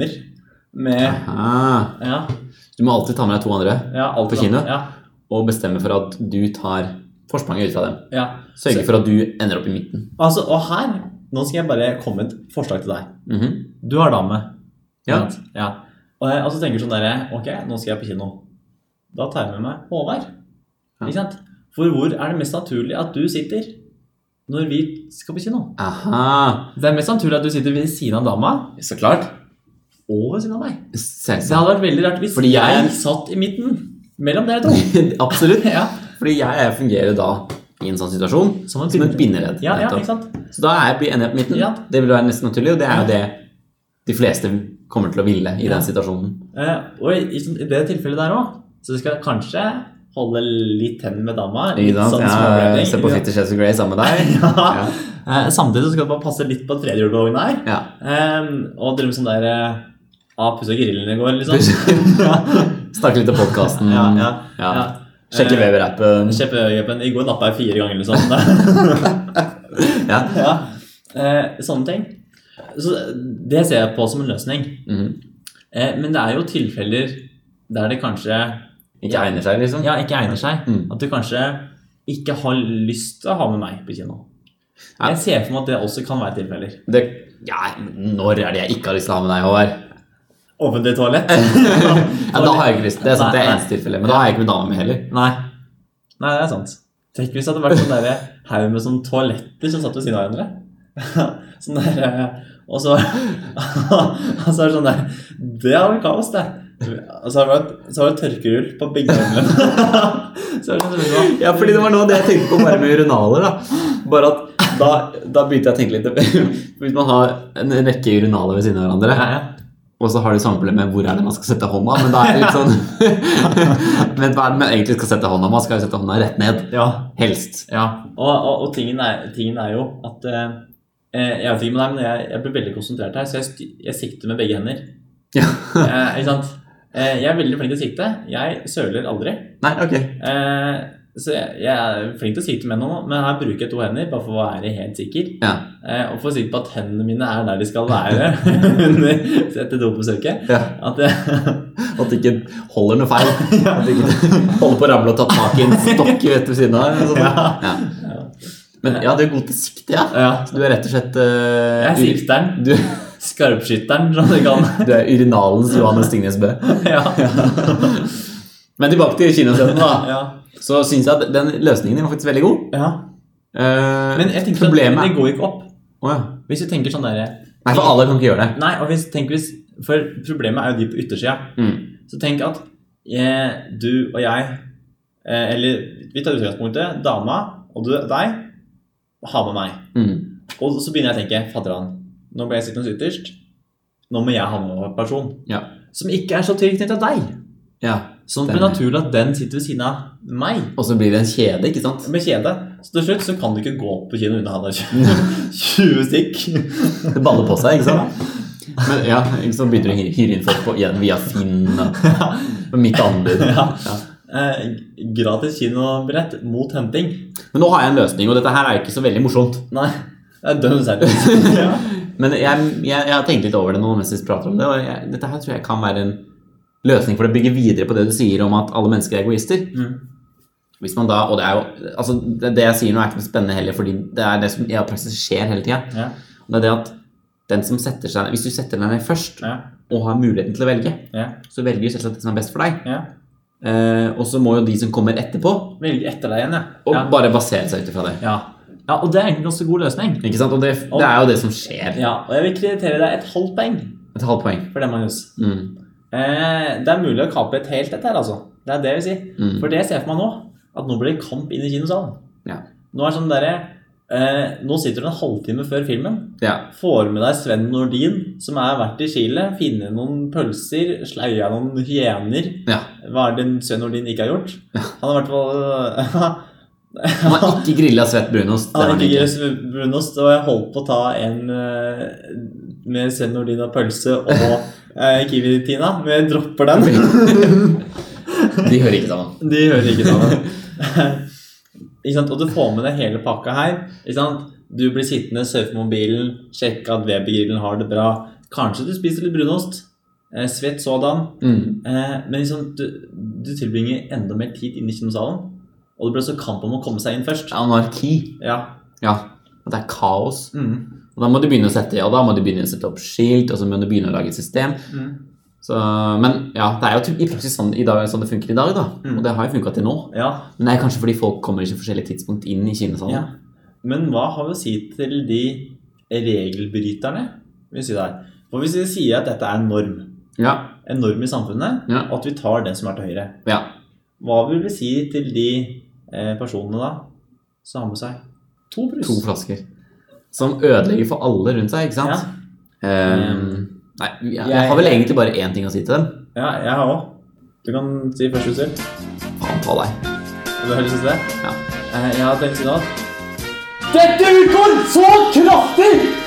med
Ah,
Ja.
du må alltid ta med deg to andre
ja alt
På
det
kino?
andre.
og bestemme for at du tar forspranget ut fra dem.
Ja, ja.
Sørge for at du ender opp i midten.
Altså, og her Nå skal jeg bare komme med et forslag til deg.
Mhm.
Du har dame.
Ja.
Sant? ja. Og, og så tenker du sånn derre Ok, nå skal jeg på kino. Da tar jeg med meg Håvard.
Ja.
Ikke sant? For hvor er det mest naturlig at du sitter når vi skal på kino?
Aha.
Det er mest naturlig at du sitter ved siden av dama
Så klart.
og ved siden av meg. Det
Selvsagt. <laughs>
hadde vært veldig rart hvis
Fordi jeg-
jeg satt i midten mellom dere to.
Absolutt.
Ja,
Fordi jeg fungerer da i en sånn situasjon
Som en
som et
bindeledd.
bindeledd.
ja, ja
nettopp.
ikke sant?
Så da er jeg enig på midten.
Ja.
Det vil være nesten naturlig, og det er jo
Ja.
det de fleste kommer til å ville i
Ja.
den situasjonen.
Eh, og i, i det tilfellet der òg, så du skal kanskje holde litt tenn med dama. Litt
Ikke sant?
sånn
Ja,
småprating.
se på Fifty Shades of Grey sammen med deg.
<laughs> ja. Eh, Samtidig så skal du bare passe litt på tredjehjulvogna her.
Ja.
Eh, og drømme sånn der eh, Ah, pussa grillen i går, liksom.
<laughs> Snakke litt om podkasten.
ja, ja,
Mm, Ja.
ja.
Sjekke
Eh,
Weber-appen.
Kjøpeøyepen. I går nappa jeg fire ganger, liksom.
Ja.
ja. Eh, sånne ting. Så det ser jeg på som en løsning.
Mhm.
Eh, men det er jo tilfeller der det kanskje
Ikke egner seg, liksom.
ja, ikke egner seg.
Mm.
At du kanskje ikke har lyst til å ha med meg på kino.
Ja.
Jeg ser for meg at det også kan være tilfeller.
Det, ja, når er det jeg ikke har lyst til å ha med deg, Håvard?
Offentlig <laughs> toalett.
Ja, da har jeg ikke lyst. Det er sant, det er
Nei,
eneste tilfelle. Men da har jeg ikke med dama mi heller.
Nei. Nei, det er sant. Tenk hvis det hadde vært sånn derre haug med sånn toaletter som satt ved siden av hverandre. <laughs> Sånn der eh, Og så <laughs> Og så er det sånn der Det hadde vært kaos, det. Og så har det vært- så har det tørkerull på begge armene. <laughs> Så er det sånn sånn,
Ja, fordi det var noe av det jeg tenkte på bare med urinaler. da Bare at da, da begynte jeg å tenke litt <laughs> Hvis man har en rekke urinaler ved siden av hverandre,
ja, ja.
og så har de samme problem med hvor er det man skal sette hånda Men da er det litt sånn <laughs> Men hva er det man egentlig skal sette hånda? Man skal jo sette hånda rett ned.
ja,
Helst.
ja. Og, og, og tingen, er, tingen er jo at eh, eh, Jeg vet ikke med deg, men jeg, jeg blir veldig konsentrert her, så jeg, sti- jeg sikter med begge hender.
Ja.
Eh, ikke sant? Eh, jeg er veldig flink til å sikte. Jeg søler aldri.
Nei, ok.
Eh, så jeg, jeg er flink til å sikte med noe, men her bruker jeg to hender bare for å være helt sikker.
Ja.
Eh, og for å sikre på at hendene mine er der de skal være <laughs> under etter dopbesøket.
ja.
At jeg,
At det ikke holder noe feil. At det ikke <laughs> holder på å ramle og ta tak i en stokk rett ved siden av. eller noe sånt. Ja. Men ja, du er god til sikte, ja.
ja,
Så du er rett og slett eh,
jeg er
uri-
sikteren.
du,
Skarpskytteren, som det kan. <laughs>
du er urinalens Johannes Stignes Bø.
ja.
Men tilbake til kinascenen, da.
Ja.
Så syns jeg at den løsningen din var faktisk veldig god.
ja.
Eh,
Men jeg tenker
Problemet
at det går ikke opp.
Å, ja.
Hvis du tenker sånn derre
Nei, for alle kan ikke gjøre det.
Nei, og hvis, tenk hvis For problemet er jo de på yttersida.
Mm.
Så tenk at eh, du og jeg eh, Eller vi tar utgangspunktet dama og du, deg. Ha med meg.
Mm.
Og så begynner jeg å tenke Fadder'n, nå ble jeg sittende ytterst. Nå må jeg ha med meg en person
Ja.
som ikke er så tilknyttet deg.
ja.
Sånn at det blir naturlig at den sitter ved siden av meg
Og så blir det en kjede, ikke sant?
med kjede. Så til slutt så kan du ikke gå på kino uten å ha deg <laughs> 20 stykk.
Det baller på seg, ikke sant? Men ja, ikke sant? begynner du å hy- hyre inn folk på, igjen via Finn <laughs> og på mitt anbud.
Ja.
Ja.
Eh, gratis kinobillett mot henting.
Men nå har jeg en løsning, og dette her er jo ikke så veldig morsomt.
Nei, det er dønn seriøst. ja.
Men jeg, jeg, jeg har tenkt litt over det nå mens vi prater om det, og jeg, dette her tror jeg kan være en løsning for å bygge videre på det du sier om at alle mennesker er egoister.
Mm.
Hvis man da, og det er jo, altså det, det jeg sier nå er ikke noe spennende heller, fordi det er det som i all praksis skjer hele tida.
Ja.
Det er det at den som setter seg, hvis du setter deg ned først
Ja.
og har muligheten til å velge,
Ja.
så velger du selvsagt det som er best for deg.
ja.
Eh, og så må jo de som kommer etterpå,
Velge etter deg igjen, ja.
og
ja.
bare basere seg ut ifra det.
ja. Ja, og det er egentlig en ganske god løsning.
Ikke sant? Og det, det er jo det som skjer.
Ja, og jeg vil kreditere deg et halvt poeng
Et halvt poeng.
for det, Magnus.
Mm.
Eh, det er mulig å kape et helt et her, altså. Det er det jeg vil si.
Mm.
For det jeg ser for meg nå, at nå blir det kamp inn i kinosalen.
Ja.
Nå er det sånn derre eh, Nå sitter du en halvtime før filmen.
ja.
Får med deg Sven Nordin, som har vært i Chile, finne noen pølser, sleia noen hyener.
ja.
Hva er det Sven Nordin ikke har gjort? Han har i hvert fall <laughs>
Han har ikke grilla svett brunost. Det
Han
har
har
han
ikke
ikke.
grøss med brunost, og jeg holdt på å ta en eh, med Sven Nordin av pølse og <laughs> eh, Kiwi-Tina, men jeg dropper den.
De hører ikke sammen.
<laughs> De hører ikke sammen. <laughs> ikke sant? Og du får med deg hele pakka her. Ikke sant? Du blir sittende, surfe mobilen, sjekke at Weber-grillen har det bra. Kanskje du spiser litt brunost. Eh, svett sådan.
Mm.
Eh, men liksom, du, du tilbringer enda mer tid inne i kinosalen. Og det blir også kamp om å komme seg inn først.
Anarki.
Ja.
Ja. At det er kaos.
Mm.
Og da må du begynne å sette og da må du begynne å sette opp skilt, og så må du begynne å lage et system.
Mm.
Så, men ja, det er jo typ i praksis sånn, i dag, sånn det funker i dag, da.
Mm.
Og det har jo funka til nå.
Ja,
Men det er kanskje fordi folk kommer ikke forskjellige tidspunkt inn i sånn. kinosalen.
Ja. Men hva har vi å si til de regelbryterne? Vil si der? For hvis vi sier at dette er en norm,
Ja.
en norm i samfunnet,
Ja.
og at vi tar den som er til høyre,
ja.
hva vil vi si til de eh, personene da som har med seg to brus?
To flasker. Som ødelegger for alle rundt seg, ikke
ja.
sant? Ehm, nei, jeg, jeg har
Jeg-
vel egentlig bare én ting å si til dem.
ja, jeg har òg. Du kan si først ut selv.
Faen ta deg.
Vil Du har lyst til det?
Ja.
Eh, jeg har tenkt sånn at Dette utgår så kraftig